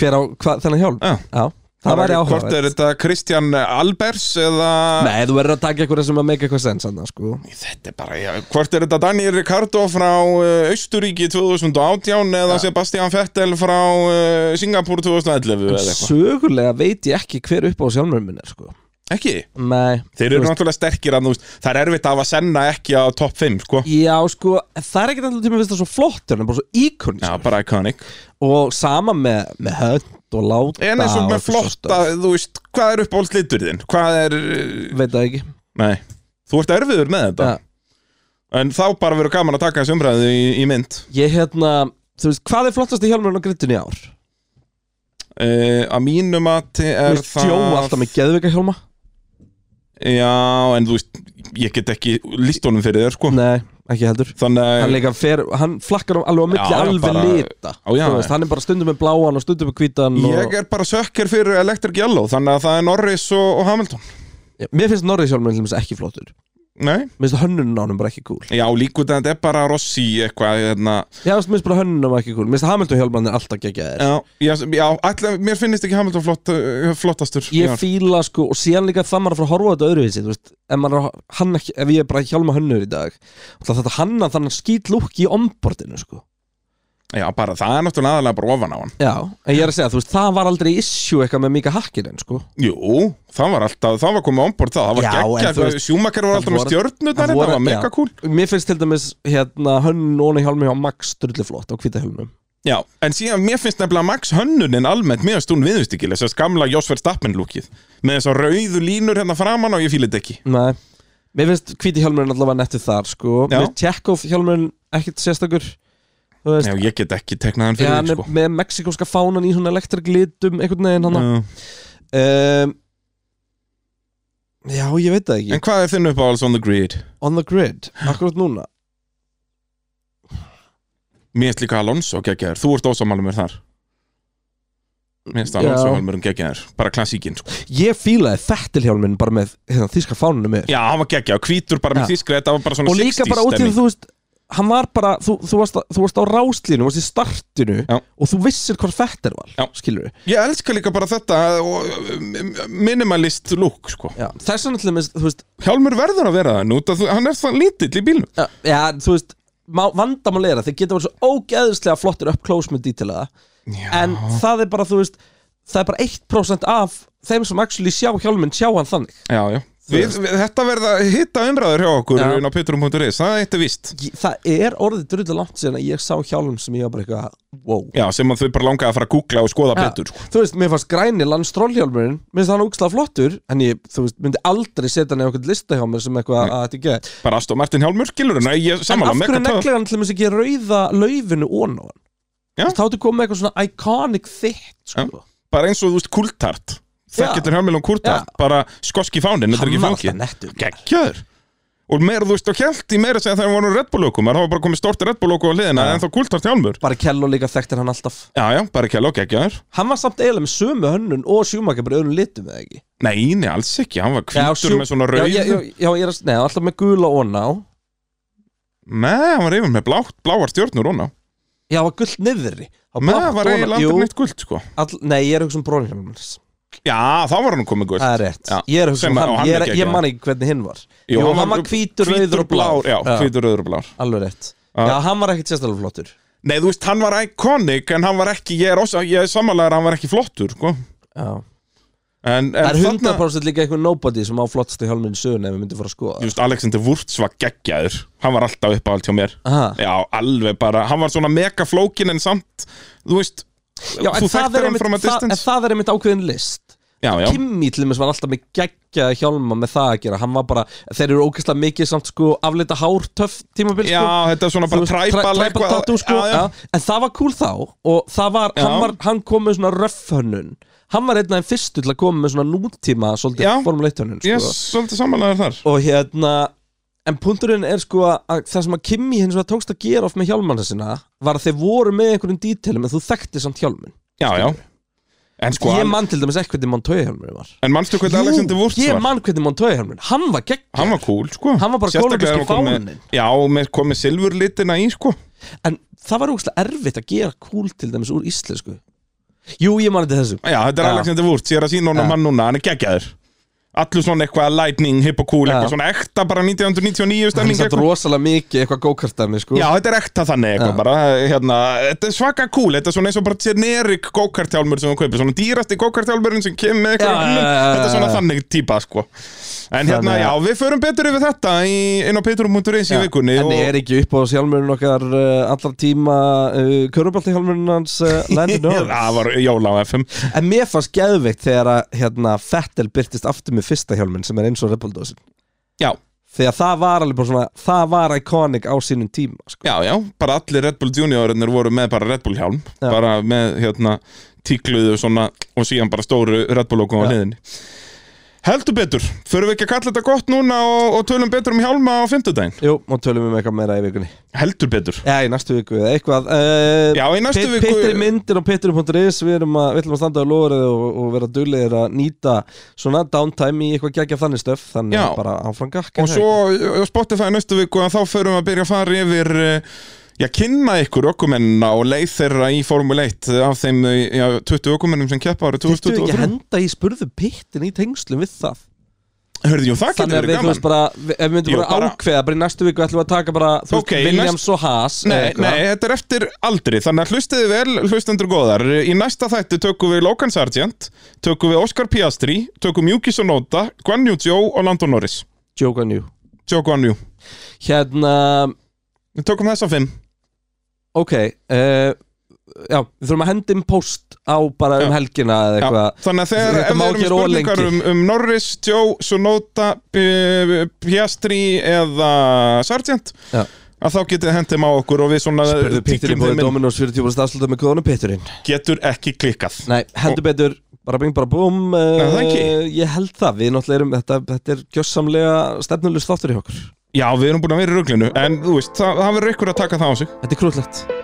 B: Hver á, hvað, þennan hjálm?
C: Já.
B: það væri
C: Hvort
B: áhuga
C: er þetta Kristján Albers eða
B: Nei, þú verður að taka eitthvað sem að make eitthvað sens annars, sko
C: Þetta er bara, já, hvort er þetta Daniel Ricardo frá uh, Austuríki 2018 eða Sebastian Vettel frá uh, Singapur 2011 eða eitthvað
B: Sögulega veit ég ekki hver upp á sjálfmur minn er, sko
C: Ekki?
B: Nei,
C: Þeir eru
B: þú veist,
C: náttúrulega sterkir að þú veist, það er erfitt að hafa senna ekki á topp 5 sko
B: Já, sko, það er ekkert alltaf tíma að finnst það svo flott en bara svo íkonis
C: Já, bara iconic
B: og sama með, með hönd og láta
C: En eins og
B: og
C: með
B: eitthvað svo
C: flotta, þú veist, hvað er uppáhalds litur þinn? Hvað er, eh,
B: stöf. veit það ekki
C: nei, þú ert erfiður með þetta
B: ja.
C: En þá bara verður gaman að taka þessu umræðu í, í mynd
B: ég hérna, þú veist, hvað er flottast í hjálmurinn á grittinu í ár?
C: uh, Að mínu mati
B: Þú
C: er
B: veist, Jó alltaf með geðveika hjálma
C: Já, en þú veist, ég get ekki líst honum fyrir þér sko
B: nei, ekki heldur
C: Þannig
B: hann
C: að,
B: líka fer, hann flakkar á- alveg á milli
C: Já, já,
B: alveg
C: bara-
B: lita
C: Á, já,
B: Þú veist,
C: já.
B: hann er bara stundum með bláan og stundum með hvítan og...
C: ég er bara sökkir fyrir Electric Yellow Þannig að það er Norris og, og Hamilton
B: Já, mér finnst Norris hjálmurinn til dæmis ekki flottur
C: Nei,
B: mér finnst hönnun á hann bara ekki cool
C: já, líkut en þetta er bara Rossi eitthvað hérna.
B: Já, þú veist, mér finnst bara hönnun á hann ekki cool mér finnst Hamilton hjálmurinn er alltaf geggjaðir
C: Já, já, já allan, mér finnist ekki Hamilton flott, uh, flottastur í
B: ég
C: ár.
B: fíla sko og síðan líka það maður er að fara að horfa á þetta öðruvísi þú veist, ef, maður, er að- hann ekki, ef ég er bara að hjálma hönnur í dag þá þetta hanna þannig skýt lúkki í ombortinu sko
C: Já, bara það er náttúrulega aðalega bara ofan á hann
B: já, en ég er að segja, þú veist, það var aldrei issue eitthvað með Mika Hakkinen sko
C: Jú, það var alltaf, það var komið ombord það, það
B: Já, en
C: var
B: þú
C: geggjað,
B: veist-
C: sjúmakar var
B: það
C: alltaf með
B: voru-
C: stjörnurnar,
B: það
C: þetta
B: voru-
C: var mega
B: já.
C: cool
B: mér finnst til dæmis hérna hönnun og hann hjálmi hjá Max drullu flott á hvita hjálmum
C: Já, en síðan mér finnst nefnilega Max Hönnunin almennt mjög stún viðustikileg, þess að gamla Jósfer Stappen lúkið, með þess að rauðu línur hérna framan og ég fíla þetta ekki
B: Nei. mér finnst hviti hjálmurinn allavega nettur þar sko
C: Já.
B: mér finnst Tjekov hjálmurinn ekkit sérstakur þú veist,
C: Já, ég get ekki teknað hann
B: já,
C: fyrir
B: hann
C: þig, sko.
B: er með mexikóska fánan í svona elektriglitum einhvern veginn hann
C: sko
B: um, Já, ég veit það ekki
C: En hvað er þinn uppáhalds on the grid?
B: On the grid, akkurat núna
C: Mér finnst líka Alonso geggjaður, þú ert ósamálum mér þar Mér finnst
B: Já.
C: Alonso Hölmurinn geggjaður, bara klassíkin sko.
B: Ég fílaði þettilhjálminn bara með hérna, þíska fánunum mér
C: Já, hann var geggjaður, hvítur bara með
B: Já.
C: þískri, þetta var bara svona
B: Og líka
C: 60s
B: bara út í
C: stemming.
B: þú veist Hann var bara, þú, þú, varst, á- þú varst á ráslínu, þú varst í startinu
C: Já.
B: Og þú vissir hvað fettir var,
C: Já.
B: skilur við
C: Ég elska líka bara þetta og, um, minimalist look sko.
B: Já, þess vegna til dæmis, þú veist
C: Hjálmur verður að vera það nú það, hann er það lítill í bílnum
B: Já, já þú veist má, vandamál er að þeir geta verið svo ógeðslega flottir up close með dítilega en það er bara, þú veist það er bara 1% af þeim sem actually sjá hjálminn sjá hann þannig
C: Já, já Við, við, þetta verða hitta umræður hjá okkur
B: Já.
C: inn á pitrum.is, það er eitt er víst
B: Ég- það er orðið drullu langt síðan að ég sá hjálm sem ég var bara eitthvað wow.
C: Já, sem að þau bara langaði að fara að googla og skoða
B: Ja.
C: betur sko.
B: þú veist, mér fannst græni landstrólhjálmurinn mér finnst hann úkslega flottur en ég, þú veist, myndi aldrei setja hann í okkur lista hjá mér sem eitthvað að þetta ekki er
C: Bara Aston Martin Hjálmur, skilur Nei, ég
B: en
C: samanlega
B: af hverju
C: töff.
B: neglir hann til þess ekki rauða laufinu ón á hann
C: Já.
B: Þú veist, þá ertu komið með eitthvað svona iconic þitt sko.
C: Bara eins og þú veist kultart
B: Já.
C: Þekkjöldur Hjálmur og kultart, um bara skoski fánin Þetta er ekki
B: var
C: fangi
B: alltaf nettur
C: Gekkjöður Og meira, þú veist, og hjælti meira að segja þegar voru Red Bull lokum Það var bara komið stort Red Bull lokum á hliðina
B: Já.
C: En þá kultart Hjálmur
B: bara Kello líka þekktir hann alltaf
C: Já, já, bara ekki alveg geggjaður
B: hann var samt eiginlega með sömu hönnun og sjúmaka bara í öðrum litum eða ekki
C: Nei, nei, alls ekki, hann var
B: Já,
C: hvítur
B: Schu-
C: með svona
B: já,
C: rauð
B: já, já, já, ég er að, nei, alltaf með gula ón á
C: Nei, hann var yfir með blátt, bláar stjórnur hún á
B: já, var gullt niðri Þá
C: Nei,
B: blátt
C: hann var
B: ofan á.
C: eiginlega
B: Jú.
C: aldrei neitt guld, sko
B: All, nei, ég er að hugsa um brónhjálmurins
C: Já, þá var hann komið guld
B: Það er rétt,
C: Já.
B: ég er að hugsa
C: Sem
B: um
C: að-
B: hann,
C: og hann
B: ég,
C: er
B: er,
C: geggjaður.
B: ég man ekki hvernig hinn var Jú, hann, var hvítur, rauður og blár
C: Já, hvítur, rauður og blár
B: Alveg rétt
C: Já.
B: Já, hann var ekkert sérstaklega flottur
C: Nei, þú veist, hann var iconic En hann var ekki, ég er, ósa- ég er samanlegar Hann var ekki flottur, sko
B: Já.
C: En, en
B: Það er
C: þarna-
B: 100% líka einhver nobody sem á flottstu hjálminn í sögun ef við myndum fara að skoða
C: Þú veist, Alexander Wurz var geggjaður Hann var alltaf uppáhald hjá mér
B: Aha.
C: Já, alveg bara, hann var svona mega flókin En samt, þú veist
B: Já, en það
C: Þú
B: er
C: þekktir hann
B: einmitt-
C: from a
B: það- en
C: distance
B: það er einmitt ákveðin list
C: Já, já,
B: Kimi til þess var alltaf með geggja hjálma með það að gera Hann var bara, þeir eru ógeðslega mikið samt sko aflita hár töff tímabil sko
C: já, þetta er svona
B: Þú
C: bara
B: veist,
C: træpal
B: træ- træpal tattoo sko,
C: já, já.
B: já. en það var cool þá og það var, hann,
C: Já.
B: var, hann kom með svona röfhönnun hann var einn af þeim fyrstu til að koma með svona nútíma svolítið
C: Já.
B: formuleittönnun sko.
C: Yes, svolítið samanlegar þar
B: og hérna en punkturinn er sko að það sem að Kimi hins vegar tókst að gera oft með hjálmansa sinna var að þeir voru með einhverjum dítelum en þú þekkti samt hjálmin
C: Já, já En sko,
B: ég
C: man...
B: man til dæmis ekki hvernig Montoya hjálmin var
C: en manstu hvernig Alexander Wurz
B: ég
C: var?
B: man hvernig Montoya hjálmin hann var gegn
C: Hann var cool, sko
B: Hann var bara kólumbíski
C: Sérstaklega ef hann kom með-
B: fáninn.
C: Já, með, kom með silfurlitina í, sko
B: en það var ógæslega erfitt að gera kúl til dæmis úr íslensku jú ég man þetta þessu
C: Já, þetta er
B: Já.
C: Alexander Wurz, ég er að sína honum
B: Já.
C: hann núna, hann er geggjaður Allur svona eitthvað lightning, hip og cool,
B: Já.
C: eitthvað svona ekta bara 1999
B: hann
C: stemning
B: satt
C: eitthvað.
B: rosalega mikið eitthvað gókartæmi sko
C: Já, þetta er ekta þannig eitthvað
B: Já.
C: bara, hérna, þetta er svaka cool, þetta er svona eins og bara generic go-kartjálmur sem þú kaupir, svona dýrasti go-kartjálmurinn sem kemur með eitthvað,
B: Já,
C: önnum.
B: já, já, já,
C: þetta er svona
B: já.
C: þannig típa, sko. En hérna,
B: Þannig að-
C: já, við förum betur yfir þetta í, inn á petrum.is í vikunni
B: en er ekki upp á sjálfmjörn okkar uh, allar tíma uh, körubalti hjálmjörn hans uh, Landon Norris
C: Það var jóla á FM.
B: En mér fannst geðveikt þegar að hérna, Fettel byrtist aftur með fyrsta hjálminn sem er eins og Rebeldósin
C: Já,
B: Þegar það var alveg bara svona, það var iconic á sínum tíma sko.
C: Já, já, bara allir Red Bull juniorinnir voru með bara Red Bull hjálm bara með hérna tíkluðu svona og síðan bara stóru Red Bull lokum á
B: Já.
C: hliðinni Heldur betur, förum við ekki að kalla þetta gott núna og, og tölum betur um hjálma á fimmtudaginn
B: Jú, og tölum við með eitthvað meira í vikunni
C: Heldur betur
B: Já, í næstu viku eða eitthvað uh,
C: Já, í næstu viku-
B: Pittri myndir og pittri.is Við erum að, við ætlum að standa á lórið og, og vera dullir að nýta svona downtime í eitthvað gegja þannig stöf Þannig
C: Já.
B: að bara áfram gakk
C: Og svo á Spotify næstu viku að þá förum við að byrja að fara yfir eh, Já, kynna ykkur ökumennina og leið þeirra í Formule 1 af þeim eh, já, 20 ökumennum sem keppa árið
B: Þetta ekki
C: 2023
B: henda í spurðu pittin í tengslum við það
C: Hörðu, jú, það
B: Þannig
C: getur
B: að við,
C: verið
B: þú veist
C: gaman
B: bara, við, ef við myndum
C: Jú,
B: bara,
C: bara-
B: ákveða bara í næstu viku ætlum við að taka bara, þú
C: Ok, í
B: veist, Williams og Haas eða
C: Nei,
B: eitthvað.
C: nei, þetta er eftir aldri, þannig að hlustiði vel, hlustendur góðar. Í næsta þætti tökum við Logan Sargent, tökum við Oscar Piastri, tökum Yuki Sonoda, Guan Yu Zhou og Landon Norris.
B: Joke on you
C: Zhou Guan Yu.
B: Hérna,
C: Við tökum þessa fimm.
B: ok uh, Já, við þurfum að henda inn post á bara um
C: Já.
B: helgina eða
C: Já,
B: eitthvað
C: þannig að þegar
B: Þetta
C: ef
B: má
C: við erum með
B: gera of
C: spurningar um,
B: lengi.
C: um Norris, Zhou, Sonoda, P- Piastri eða Sargent,
B: Já.
C: að þá getið þið hendum á okkur og við svona
B: Spurðu pittin í
C: tíklum
B: bóði
C: þeim inn.
B: Dominos 40% afslutum með kóðanum pitturinn
C: getur ekki klikkað.
B: Nei, heldur betur bara bing bara búm uh,
C: það ekki.
B: Ég held það, við náttúrulega erum þetta, þetta er gjössamlega stefnulust þáttur í okkur
C: Já, við erum búin að vera í ruglinu, en þú veist, það, það verður ykkur að taka það á sig.
B: Þetta er krúllegt